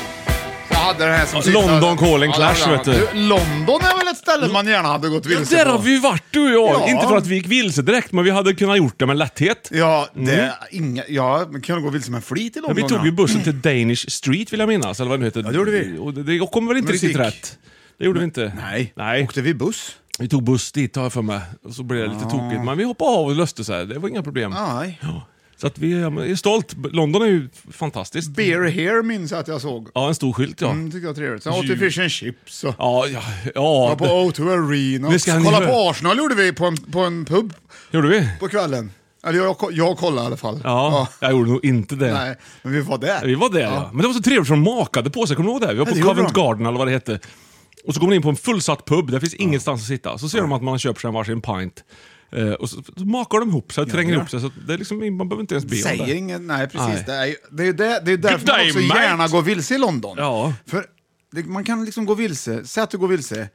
Jag hade den här som Ja, sista. Alltså, London Calling Clash, det var vet du. den. London är väl ett ställe man gärna hade gått Ja, vilse där på. har vi ju varit du och jag. Ja. Inte för att vi gick vilse direkt, men vi hade kunnat gjort det med lätthet. Ja, det... Inga, ja, man kan gå vilse med flit i Mm. Ja, vi London. tog ju bussen till Danish Street vill jag minnas, eller vad det nu heter. Ja, det gjorde vi. Och det, det kom väl inte Musik. riktigt rätt? Det gjorde vi inte. Nej. Nej. Åkte vi buss? Vi tog buss dit har jag för mig, och så blev det lite tokigt. Men vi hoppade av och löste så här. det var inga problem. Ah. Nej. Ja. Så att vi är stolt. London är ju fantastiskt. Beer here minns jag att jag såg. Ja, en stor skylt ja. Mm, tyckte jag var trevligt. Sen åt vi Djur. fish and chips och... Ja, ja, ja. Var på O2 Arena. Det ska ni Kolla göra. på Arsenal gjorde vi på en, på en pub det gjorde vi. på kvällen. Eller jag, jag kollade i alla fall. Ja, jag gjorde nog inte det. Nej, men vi var där. Vi var där ja. Men det var så trevligt för de makade på sig, kommer du ihåg det? Vi var på Ja, det gjorde Covent de. Garden eller vad det hette. Och så kommer man in på en fullsatt pub, där finns ingenstans att sitta. Så ser de att man köper sig en varsin pint. Eh, och så, så makar de ihop sig, tränger ihop sig. Så det är liksom, man behöver inte ens be om Säger det. inget, nej precis. Nej. Det är ju det är ju det, det är ju därför Good man day, också mate. gärna går vilse i London. Ja. För det, man kan liksom gå vilse, säg att du går vilse,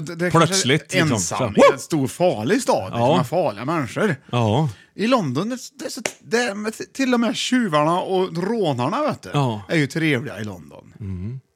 Det, det Plötsligt, Kanske är liksom. ensam Så- i en stor farlig stad. Det kan vara farliga människor. Ja. I London, det, det, är så- det, är- men t- till och med tjuvarna och rånarna vet du, Ja. Mm. är ju trevliga i London.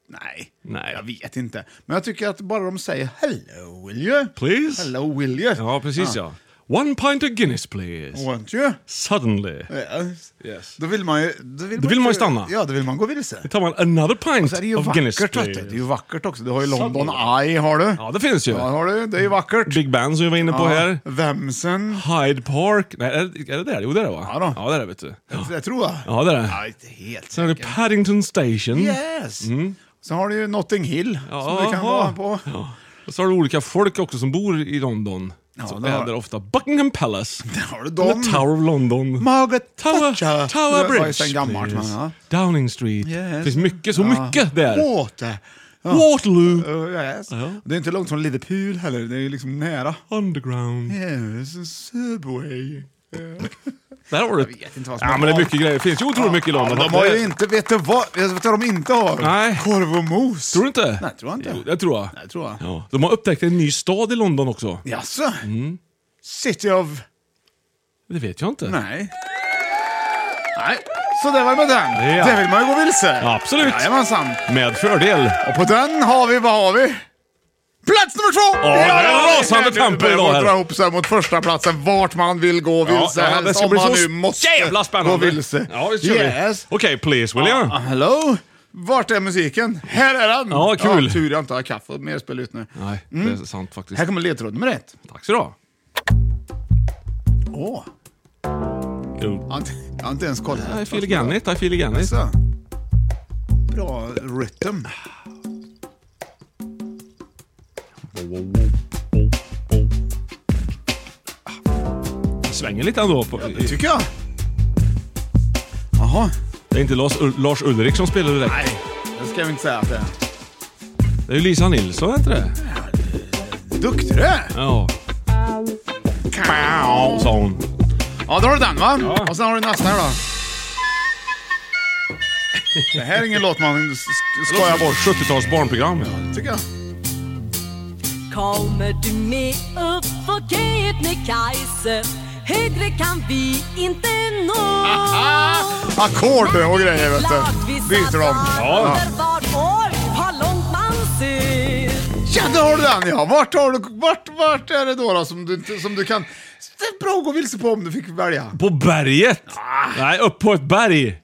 Nej, Nej. jag vet inte. Men jag tycker att bara de säger hello will you? Please? Hello will you? Ja, precis ja. One pint of Guinness please. Won't you? Suddenly. Yes. Yes. Då vill man ju... Då vill, Då vill man ju inte- stanna. Ja, då vill man gå vilse. Då tar man another Och pint så är Alltså, det ju of Guinness vackert vet please. du. Det är ju vackert också. Du har ju London Suddenly. Eye har du. Ja, det finns ju. Ja, har du. Det är ju vackert. Big Ben som vi var inne på Ja, här. Vemsen. Hyde Park. Nej, är det, är det där? Jo, det är det va? Ja då. Ja, det är det vet du. Det tror jag. Ja, det är Ja, det. inte helt Sen har du säker. Paddington Station. Yes! Sen har du ju Notting Hill som du kan Jaha. vara på. Ja. Och så har du olika folk också som bor i London. Ja, som det har- äger ofta Buckingham Palace. Där har du The dem. Tower of London. Margaret Tower, Thatcher. Tower Det var ju Bridge. sen gammalt. Men, please. ja. Downing Street. Yes. Det finns mycket, så Ja. mycket där. Water. Ja. Waterloo. Uh, yes. Det är inte långt från Liverpool heller, det är ju liksom nära. Underground. Yes, Subway. Där har du... Jag vet inte vad som Ja, är men det är bra. mycket grejer. Det finns ju otroligt mycket i London. de har ju inte, vet du vad, vet du vad de inte har? Nej. Korv och mos. Tror du inte? Nej, tror jag inte. Jo, det tror jag. Nej, tror jag. Ja. De har upptäckt en ny stad i London också. Jaså? Mm. City of... Det vet jag inte. Nej. Nej, så det var med den. Ja. Det vill man ju gå vilse. Absolut. Jajamensan. Med fördel. Och på den har vi, vad har vi? Plats nummer två! Ja, det är där har vi! rasande tempo Det idag här. börjar dra ihop sig mot första platsen vart man vill gå vilse. helst, det ska om bli man så nu måste jävla spännande. gå vilse. Ja, det kör yes. vi. Okej, please William. Ah, hello? Vart är musiken? Här är den! Ja, kul. Ja, tur jag inte har kaffe och mer spel ut nu. Nej, det är sant faktiskt. Här kommer ledtråd nummer ett. Mm. Tack så du ha. Åh, jag har inte- jag har inte ens kollat. I feel again it, I feel again it. Så. Bra rytm. Svänger lite ändå. På, Det tycker jag. Jaha. det är inte Lars, Lars Ulrik som spelar direkt. Nej, det ska vi inte säga att det är. Det är ju Lisa Nilsson, är inte det? Duktig du är! Ja, Pow. sa hon. Ja, då har du den va? Och sen har du nästa här då. Det här är ingen låt man s- s- skojar bort. 70-tals barnprogram. Tycker jag. Kommer du med upp för Kebnekaise? Högre kan vi inte nå. Ackord och grejer vet du. Byter de. Ja. Var år, vad långt man ser. Ja, då har du den ja. Vart, har du, vart, vart är det då, då som, du, inte- som du kan... Det är bra att gå vilse på om du fick välja. På berget? Nej, upp på ett berg.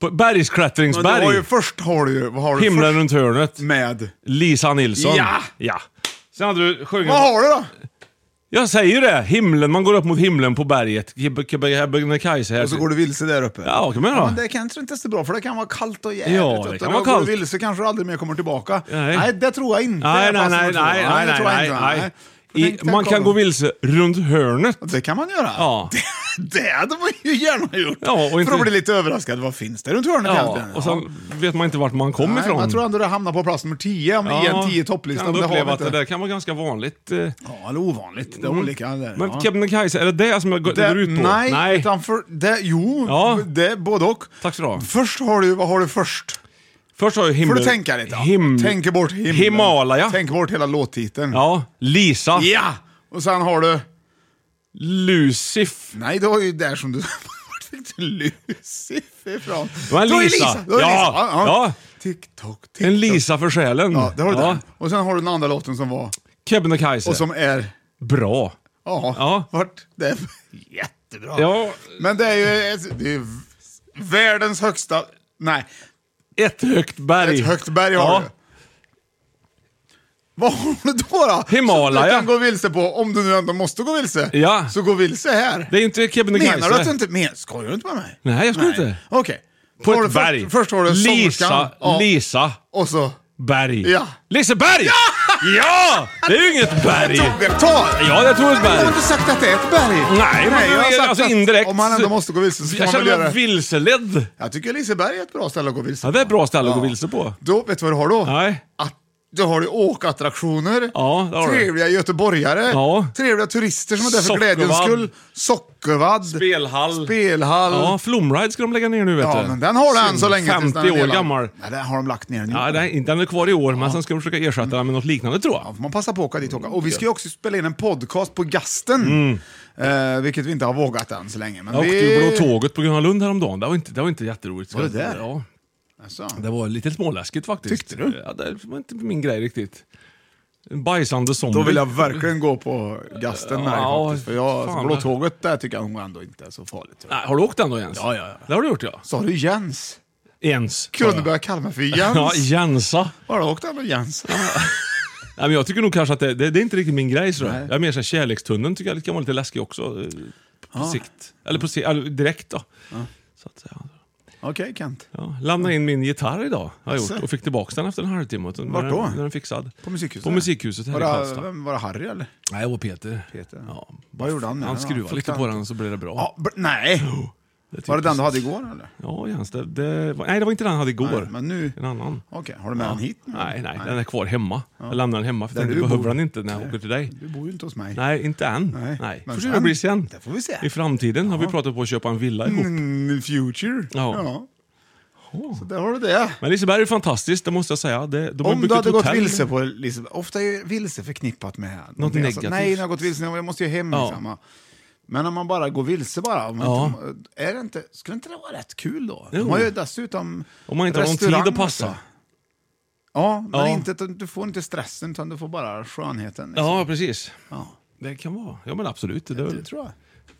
På ett Men du har ju bergsklättringsberg. först har du ju... Vad har du Himlen först runt hörnet. med? Lisa Nilsson. Ja. ja. Sen hade du sjungit... Vad har du då? Jag säger ju det! Himlen, man går upp mot himlen på berget. Kebnekaise här. Och så går du vilse där uppe. Ja, kan man göra. men det kanske inte är så bra för det kan vara kallt och jävligt. Ja, det vet du. kan vara Och går kallt. du vilse kanske du aldrig mer kommer tillbaka. Nej. det tror jag inte. Nej, är nej, fast nej, nummer två. nej, nej, det nej, tror jag nej, inte. nej. Tänk- I, tänk man kan om- gå vilse runt hörnet. Det kan man göra. Ja. Det hade man ju gärna gjort. Ja, och inte- För att bli lite överraskad. Vad finns det runt hörnet Ja, egentligen? och sen vet man inte vart man kom Nej, ifrån. men Jag tror ändå det hamnar på plats nummer 10 om- i en 10 topplista. Kan men du det har vi uppleva att inte. det där kan vara ganska vanligt. eh. Ja, eller ovanligt. Det är olika. Där, Men ja. Kebnekaise, är det det som jag går, det, Det- går ut på? Nej, utan för, det, jo, Ja. det, både och. Tack så du ha. Först har du, vad har du först? Först har ju Får himlen... du tänka lite? ja. Him, Tänk bort himlen. Himalaya. Tänk bort hela låttiteln. Ja, Lisa. Ja! Och sen har du... Lucif. Nej, det var ju där som du... Vart fick du Lucif ifrån? var en Du har ju Lisa. Du har ju Ja, Lisa. ja. TikTok, TikTok. En Lisa för själen. Ja, det har du där. Och sen har du den andra låten som var... Kebnekaise. Och som är... Bra. Ja, Ja. vart... Det är jättebra. Ja, Men det är ju... Ett, det är v- världens högsta... Nej, ett högt berg. ett högt berg har Ja. du. Vad har du då? då? Himalaya. Som du kan gå vilse på, om du nu ändå måste gå vilse. Ja. Så gå vilse här. Det är inte Kebnekaise. Menar du att du inte... Men, skojar du inte med mig? Nej, jag skojar inte. Okej. På Har ett du först- berg. Först har du sångerskan. Lisa, Ja. Lisa Och så... Berg. Ja. Liseberg! Ja! Det är ju inget berg. Tog ett tal! Ja, jag tror ett Men jag har berg. inte sagt att det är ett berg. Nej, men jag har sagt alltså att indirekt. Om man ändå måste gå vilse så kan jag man väl känner göra mig det. vilseledd. Jag tycker Liseberg är ett bra ställe att gå vilse Ja, det är ett bra ställe att gå vilse på. Då, vet du vad du har då? Nej. Att Då har du åkattraktioner, Ja, det har du. trevliga göteborgare, Ja. trevliga turister som är där för Sockervadd. glädjens skull, Sockervadd, Spelhall. spelhall. Ja, Flumride ska de lägga ner nu vet Ja, du. men den har du än så länge. tills 50 den är år lagd. gammal. Nej, den har de lagt ner nu. Ja, den, inte- den är kvar i år, men sen ska de försöka ersätta den med något liknande tror jag. får man passa på att åka dit och åka. Och vi ska ju också spela in en podcast på Gasten, eh, vilket vi inte har vågat än så länge. Men Jag åkte vi... ju Blå Tåget på Gröna Lund häromdagen. Det var inte, det var inte jätteroligt. Var det där? Ja. Alltså. Det var lite småläskigt faktiskt. Tyckte du? Ja, det var inte min grej riktigt. En bajsande zombie. Då vill jag verkligen gå på Gasten med dig Ja, faktiskt. För jag, fan. Blå Tåget, där tycker jag nog ändå inte är så farligt. Nej, har du åkt den då Jens? Ja, ja, ja. Det har du gjort ja. Sa du Jens? Jens. Kunde börja kalla mig för Jens. Ja, Jensa. Har du åkt där med Jens? Nej, men jag tycker nog kanske att det, det, det är inte riktigt min grej. Så Nej. jag är mer så här, kärlekstunneln tycker jag kan vara lite läskig också. eh, På sikt. Eller på sikt, eller direkt då. Så att säga. Okej Kent. Ja, lämnade in min gitarr idag har jag gjort, Jaså? och fick tillbaka den efter en halvtimme. Vart Vart då? Den är fixad. På musikhuset? På musikhuset här var i det, Karlstad. vem, var det Harry eller? Nej, och Peter. Peter. Ja. Vad gjorde han med Han den? skruvade lite på den så blev det bra. Ja, br- nej! Det Var det den tycktes- du hade igår eller? Ja, Jens. Det, det var, nej, det var inte den han hade igår. Nej, men nu- En annan. Okej, har du med den hit nu? Nej, nej, den är kvar hemma. Jag lämnar den hemma, för Där den du behöver bor. den inte när jag Nej. åker till dig. Du bor ju inte hos mig. Nej, inte än. Nej, men Får se hur det sen. blir sen. Det får vi se. I framtiden har vi pratat på att köpa en villa ihop. Mm, future. Ja. Så där har du det. Men Liseberg är fantastiskt, det måste jag säga. Det, de har Om byggt du hade ett gått hotell. vilse på Liseberg, ofta är ju vilse förknippat med något negativt. nej, när jag har gått vilse, jag måste ju hem. Ja. Liksom. Ja. Men om man bara går vilse bara, om man Ja. inte, är det inte, skulle inte det vara rätt kul då? Jo. De har ju dessutom Om man inte har någon tid restaurang att passa. också. Ja, men Ja. Inte, du får inte stressen utan du får bara skönheten. liksom. Ja, precis. Ja. Det kan vara. Ja, men absolut. Det, det, Det tror jag.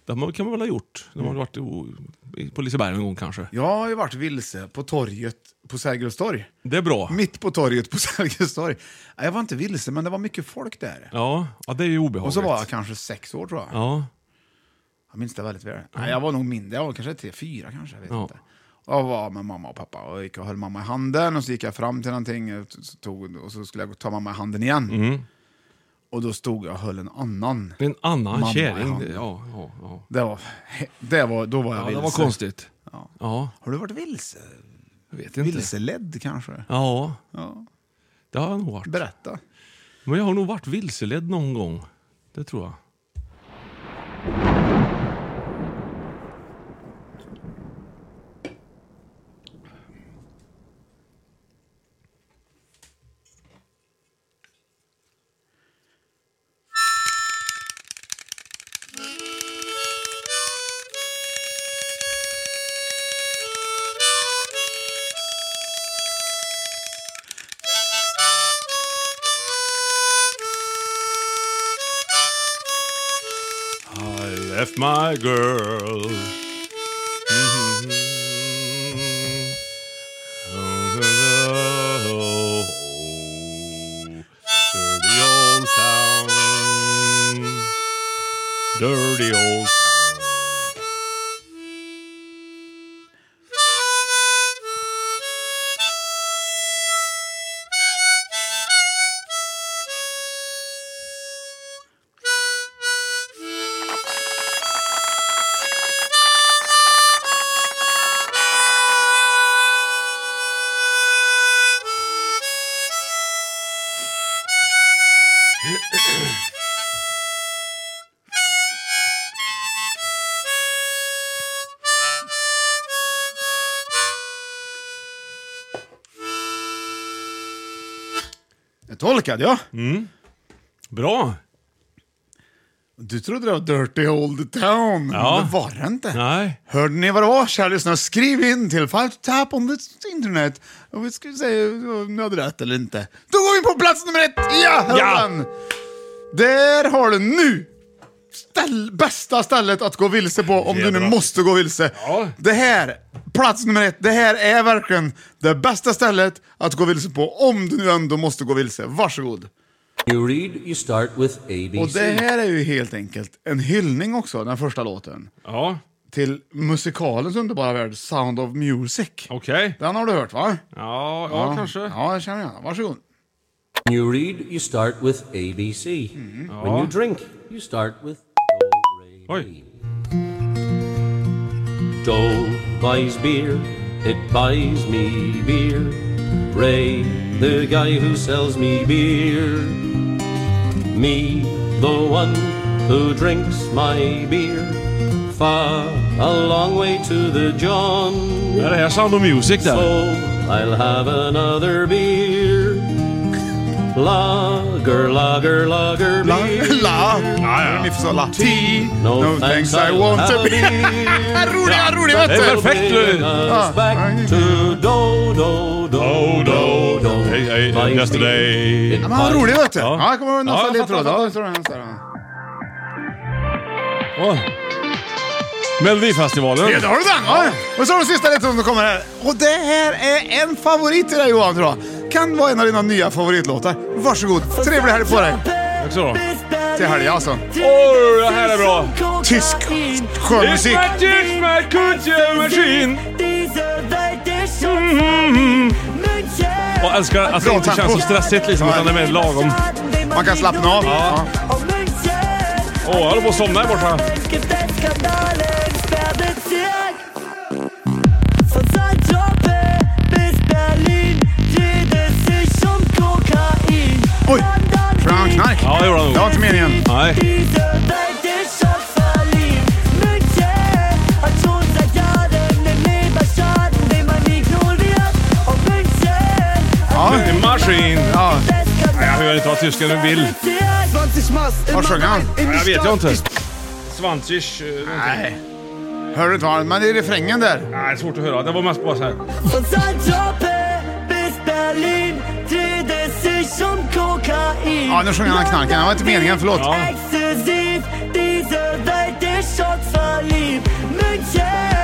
Mm. man- kan man väl ha gjort. De har varit o- i- på Liseberg en gång kanske. Jag har ju varit vilse på torget på Sergels torg. Det är bra. Mitt på torget på Sergels torg. Nej, Jag var inte vilse, men det var mycket folk där. Ja, ja, det är ju obehagligt. Och så var jag kanske sex år tror jag. Ja, Jag minns det väldigt väl. Nej, jag var nog mindre, jag var kanske tre, fyra kanske. Jag vet Ja. inte. Jag var med mamma och pappa och gick och höll mamma i handen och så gick jag fram till någonting och, så tog, och så skulle jag ta mamma i handen igen. Mm. Och då stod jag och höll en annan. en annan Mamma, kärring. ja. Ja, ja, ja. Det var, det var, då var jag ja, vilse. det var konstigt. Ja. Ja, Har du varit vilse? jag vet inte. Vilseledd kanske? Ja, Ja. det har jag nog varit. Berätta. Men jag har nog varit vilseledd någon gång. Det tror jag. I left my girl. Dirty old town. Dirty old town. Det tolkade jag. Bra! Du trodde det var Dirty Old Town, Ja. men det var det inte. Nej. Hörde ni vad det var, kära lyssnare? Skriv in till Five Tap on the internet. Och vi ska säga om ni hade rätt eller inte. Då går vi in på plats nummer ett! Ja! här Ja. har den. Där har du nu! Ställ, bästa stället att gå vilse på om du nu Jävlar. måste gå vilse. Ja. Det här, plats nummer ett, det här är verkligen det bästa stället att gå vilse på om du nu ändå måste gå vilse. Varsågod! You read, you start with ABC. Och det här är ju helt enkelt en hyllning också, den första låten. Ja, Till musikalens underbara värld, Sound of Music. okej. Den har du hört va? Ja, ja, kanske. Ja, jag känner igen den. Varsågod. You read, you start with ABC. When you drink, you start with Do, Re, Mi. Oj. Joe buys beer, it buys me beer. Ray, the guy who sells me beer. Me, the one who drinks my beer. Far a long way to the John. Ja, det här är Sound of Music där. So I'll have another beer. Lager, lager, lager La, beer. la, la, ni förstår, la. Tea, no, thanks I I'll want have a a beer. rolig, vad rolig, vet du! er Us back to do, do, do, do, do. yesterday. Ja, men vad rolig vet du! Ja. Ja, jag kommer ihåg nästa Ja, jag fattar, ledtråd. Ja, fattar. jag tror den här, ja. Åh. Melodifestivalen. Ja, där har du den! Ja. Och så har du sista ledtråden som kommer här. Och det här är en favorit till dig Johan tror jag. Kan vara en av dina nya favoritlåtar. Varsågod, trevlig helg på dig! Tack så du Till helgen alltså. Åh, det här är bra! Tysk skön musik. It's my kuttjemaskin! Och älskar att det Bra inte känns tempo. så stressigt liksom, utan det är mer lagom. Man kan slappna av. Ja. Åh, jag håller på att somna här borta. Oj! Tror han knark? Ja, det gjorde han nog. Det var inte meningen. Nej. Ja. Maskin! Ja. Nej, jag hör inte vad tysken vill. Vad sjöng han? Nej, Jag vet jag inte. Svantisch... eh, någonting. Nej. Hör du inte vad han... Men det är refrängen där. Nej, det är svårt att höra. Det var mest bara så här. Ja, nu sjunger han knarken. Det var inte meningen. Förlåt. Ja.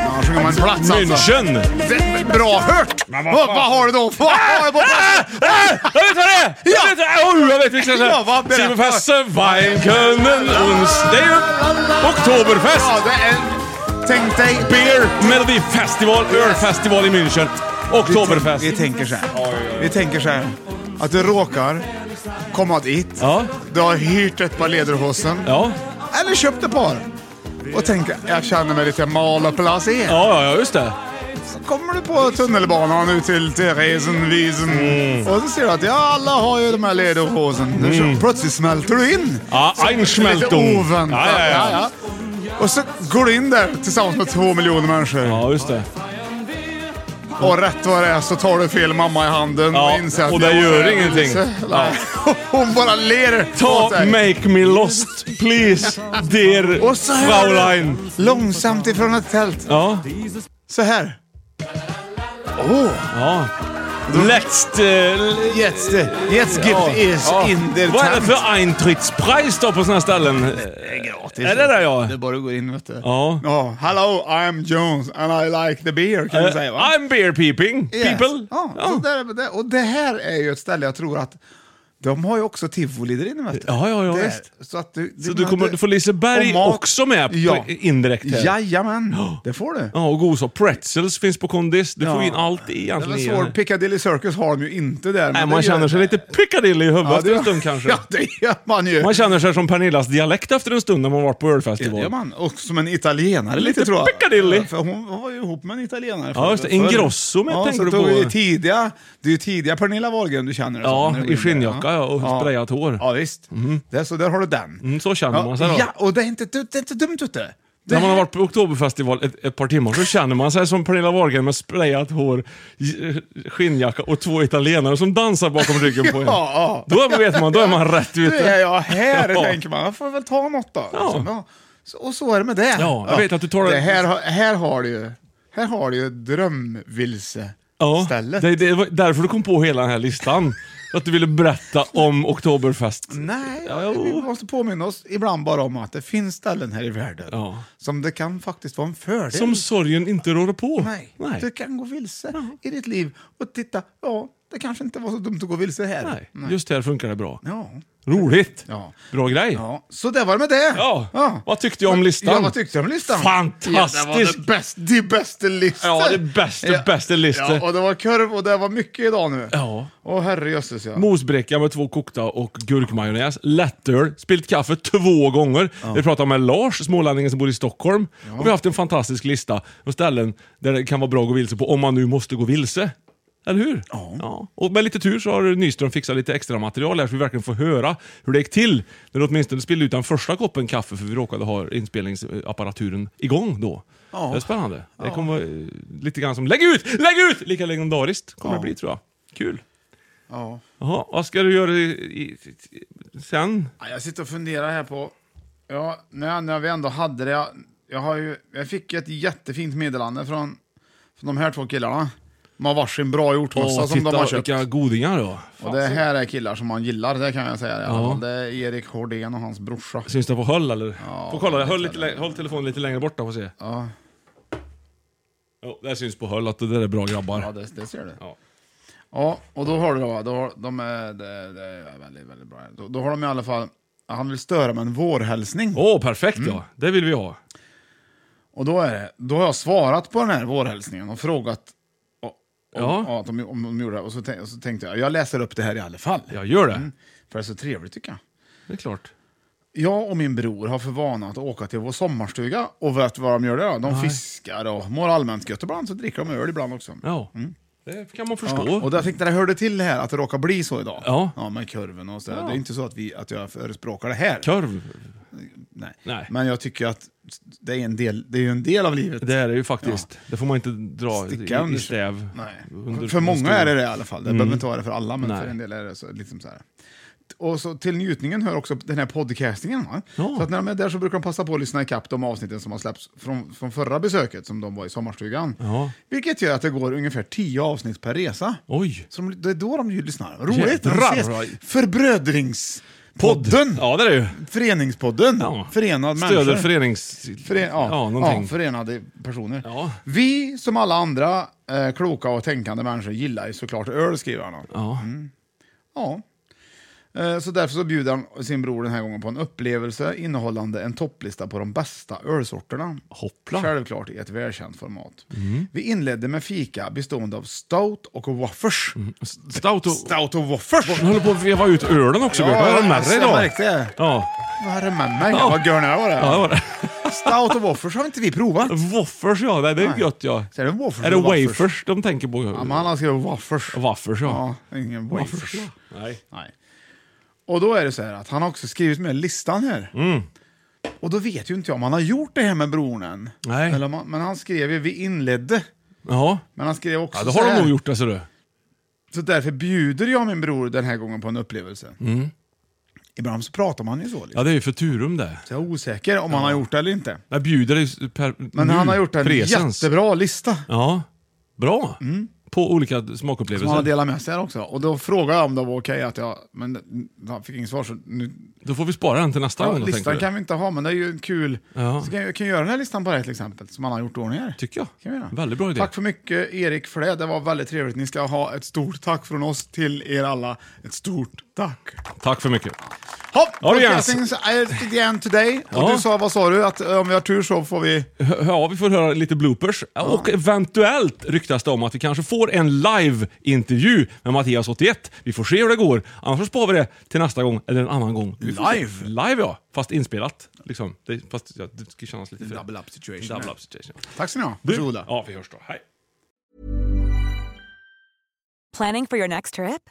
Ja, sjunger man en plats alltså. München! Det- Bra hört! Vad, Men vad fan? vad har du då? Vad har du på platsen? Ah, jag vet vad det är! Jag Ja. vet, oh, jag vet vilken det Ja, vad är! berättar. Silverfesse, Weinkönnen, Uns... Det är ju Oktoberfest! Ja, det är... Tänk dig... Beer Melodifestival, Ölfestival i München. Oktoberfest. Vi, vi tänker så här. Vi tänker så här. Att du råkar komma dit. Ja, Du har hyrt ett par lederhosen. ja, Eller köpt ett par. Och tänker, jag känner mig lite malplacerad. ja, ja, just det. kommer du på tunnelbanan ut till Theresienwiesen Mm. och så ser du att ja, alla har ju de här lederhosen. Mm. Plötsligt smälter du in. Ja, Einschmeltung. Lite oväntat. Ja, ja, ja. Och så går du in där tillsammans med två miljoner människor. Ja, just det. Och rätt vad det är så tar du fel mamma i handen Ja, och inser att och det jag gör är- ingenting. Nej. Hon bara ler Ta åt dig. Make Me Lost, please, dear Och så här, Fraulein. långsamt ifrån ett tält. Ja, Så här. Åh! ja. Let's... Uh, Jetzt, jetzt gibt es in der Vad är det Tank. för einträdespris då på såna här ställen? Det är gratis. Är det där ja? Det är bara att gå in vet du. Ja. Ja, hello I'm Jones and I like the beer kan du Eh, säga va? I'm beer peeping, Yes. people. Ja, Så där, där, och det här är ju ett ställe jag tror att de har ju också tivoli där inne vet du. Ja, ja, ja, Det- visst. Så, att du, Så men du kommer du får Liseberg och mat- också med på, Ja. indirekt här. Jajamän, det får du. Ja, och gosa pretzels finns på kondis. Du får Ja. in allt i Det var egentligen. svårt. Piccadilly Circus har de ju inte där. men Nej, det man gör- känner sig lite piccadilly i huvudet efter en stund kanske. Ja, det gör man ju. Man känner sig som Pernillas dialekt efter en stund när man varit på ölfestival. Det gör man. Och som en italienare lite, Lite tror jag. piccadilly. Ja, för hon var ju ihop med en italienare Ja, just det. förr. Ingrosso med, ja, tänker så du det var på. ju tidiga, det är ju tidiga Pernilla Wahlgren du känner. det Ja, som när du går i in där, skinnjacka, ja, och sprayat hår. Mhm. Ja, visst. Där, så där har du den. Mm, så känner man sig då. Ja, och det är inte, det är inte dumt ute. Det När man har här- varit på Oktoberfestival ett, ett par timmar så känner man sig som Pernilla Wahlgren med sprayat hår, j- skinnjacka och två italienare som dansar bakom ryggen på en. Ja, ja. Då är- vet man, då är man rätt Nu är ute. jag här, Ja. tänker man. Jag får väl ta något då. Ja. Så, ja. Så, och så är det med det. Ja, jag vet att du tar- det. Här, har- här har du ju, här har du ju drömvilse. Ja, stället. det, det var därför du kom på hela den här listan. Att du ville berätta om Oktoberfest. Nej, Ja, jo. vi måste påminna oss ibland bara om att det finns ställen här i världen Ja. som det kan faktiskt vara en fördel. Som sorgen inte rår på. Nej, du kan gå vilse i ditt liv och titta, ja, det kanske inte var så dumt att gå vilse här. Nej. Just här funkar det bra. Ja. Roligt! Ja. Bra grej! ja, så det var det med det. Ja. Vad tyckte jag om listan? Ja, vad tyckte jag om listan? Fantastisk. Ja, det var det bäst, det bästa listan. Ja, det bästa, bästa listan. Ja, och det var kurv och det var mycket idag nu. Ja. Åh herrejösses ja. Mosbräcka med två kokta och gurkmajonnäs, lättöl, spillt kaffe två gånger. Vi pratade med Lars, smålänningen som bor i Stockholm. Och vi har haft en fantastisk lista på ställen där det kan vara bra att gå vilse på, om man nu måste gå vilse. Eller hur? Ja. Och med lite tur så har Nyström fixat lite extra material här så vi verkligen får höra hur det gick till. När du åtminstone spillde ut den första koppen kaffe för vi råkade ha inspelningsapparaturen igång då. Ja. Det är spännande. Det kommer vara eh, lite grann som lägg ut, lägg ut! Lika legendariskt kommer det bli tror jag. Kul. Ja. Jaha, vad ska du göra i, i, i, sen? Ja, Jag sitter och funderar här på... Ja, när, när vi ändå hade det... Jag, jag, har ju, jag fick ju ett jättefint meddelande från, från de här två killarna. De har varsin bra hjortmössa Åh, som de har titta köpt. vilka godingar då. Och det här är killar som man gillar, det kan jag säga i alla Ja. fall. Det är Erik Hårdén och hans brorsa. Syns det på höll eller? Får kolla, jag lite höll, lite, lä- håll telefonen lite längre borta får se. Ja, Jo, där syns på höll att det där är bra grabbar. ja det, det ser du. Ja. Ja, och då har du då, då har, de är, det, det är väldigt, väldigt bra. Då, då har de i alla fall, han vill störa med en vårhälsning. Åh, perfekt Mm. ja! Det vill vi ha. Och då, är det, då har jag svarat på den här vårhälsningen och frågat o- om, Ja. ja, att de, om de gjorde det. Och så, tänk, och så tänkte jag, jag läser upp det här i alla fall. Mm. Jag gör det. För det är så trevligt tycker jag. Det är klart. Jag och min bror har för vana att åka till vår sommarstuga och vet vad de gör där? då? De Nej. fiskar och mår allmänt gött ibland, så dricker de öl ibland också. Ja. Det kan man förstå. Mm. Ja, och där fick det där hörde till det här att det råkar bli så idag. Ja. med kurven och så. Ja. Det är inte så att, vi, att jag förespråkar det här. Kurv. Nej. Nej. Men jag tycker att det är en del, det är ju en del av livet. Det är det ju faktiskt. Det får man inte dra Sticka i, under- i stäv. Nej. Under- för många under- är det det i alla fall. Det Mm. behöver inte vara det för alla, men Nej. för en del är det så, liksom så här. Och så till njutningen hör också den här podcastingen. Va? Så att när de är där så brukar de passa på att lyssna ikapp de avsnitten som har släppts från, från förra besöket som de var i sommarstugan. Ja. Vilket gör att det går ungefär tio avsnitt per resa. Oj! Så de, det är då de ju lyssnar. Roligt! De Jädrar, ses. vad- Förbrödringspodden! Ja, det är det ju. Föreningspodden! Ja. Förenad Stöder människor. förenings... Före, ja, ja, ja, någonting. förenade personer. Ja. Vi som alla andra eh, kloka och tänkande människor gillar ju såklart öl, skriver han. Mm. Ja. Ja. Eh, Så därför så bjuder han sin bror den här gången på en upplevelse innehållande en topplista på de bästa ölsorterna. Hoppla. Mm. Självklart i ett välkänt format. Vi inledde med fika bestående av stout och waffers. Mm. Stout och... Stout och waffers! Hon håller på att veva ut ölen också, Björn. Vad är det med dig jag idag? märkte det. Ja. Vad är det med mig? Ja. Vad görn jag var det. ja, det var det. Stout och waffers har inte vi provat. Waffers ja, det det är Nej. gött ja. Så är det waffers Är det och waffers? wafers de tänker på? Ja, men han har skrivit waffers. Waffers ja. Ja, ingen wafers. Nej. Nej. Och då är det så här att han har också skrivit med listan här. Mm. Och då vet ju inte jag om han har gjort det här med bron än. Nej. Eller om han, men han skrev ju vi inledde. Ja. Men han skrev också ja, det så har här. de nog gjort det ser du. Så därför bjuder jag min bror den här gången på en upplevelse. Mm. Ibland så pratar man ju så. Liksom. Ja, det är ju för turum det. Så jag är osäker om han har gjort det eller inte. Jag bjuder dig per, Men nu, han har gjort en Mm. presens. jättebra lista. Ja, bra. På olika Som han har smakupplevelser. delat med sig här också. Och då frågade jag om det var okej att jag... Men han fick inget svar så nu... Då får vi spara den till nästa Ja, gång. då, tänker listan du. kan vi inte ha men det är ju en kul... Ja. Så kan jag kan jag göra den här listan på det här till exempel. Som han har gjort i ordning här. Tycker jag. Kan vi göra. Väldigt bra idé. Tack för mycket Erik för det. Det var väldigt trevligt. Ni ska ha ett stort tack från oss till er alla. Ett stort tack. Tack för mycket. Hopp, Ja, det är podcasting is at the end today. Och Ja. du sa, vad sa du? Att eh, om vi har tur så får vi... Hö- Ja, vi får höra lite bloopers. Och eventuellt ryktas det om att vi kanske får en live-intervju med Mattias 81. Vi får se hur det går. Annars så sparar vi det till nästa gång eller en annan gång. Vi får se. Live? Live ja, fast inspelat. Liksom. Det, fast ja, det ska kännas lite... för- Double up situation. Double up situation. Tack ska ni ha. Du, Varsågoda. Ja, vi hörs då. Hej. Planning for your next trip?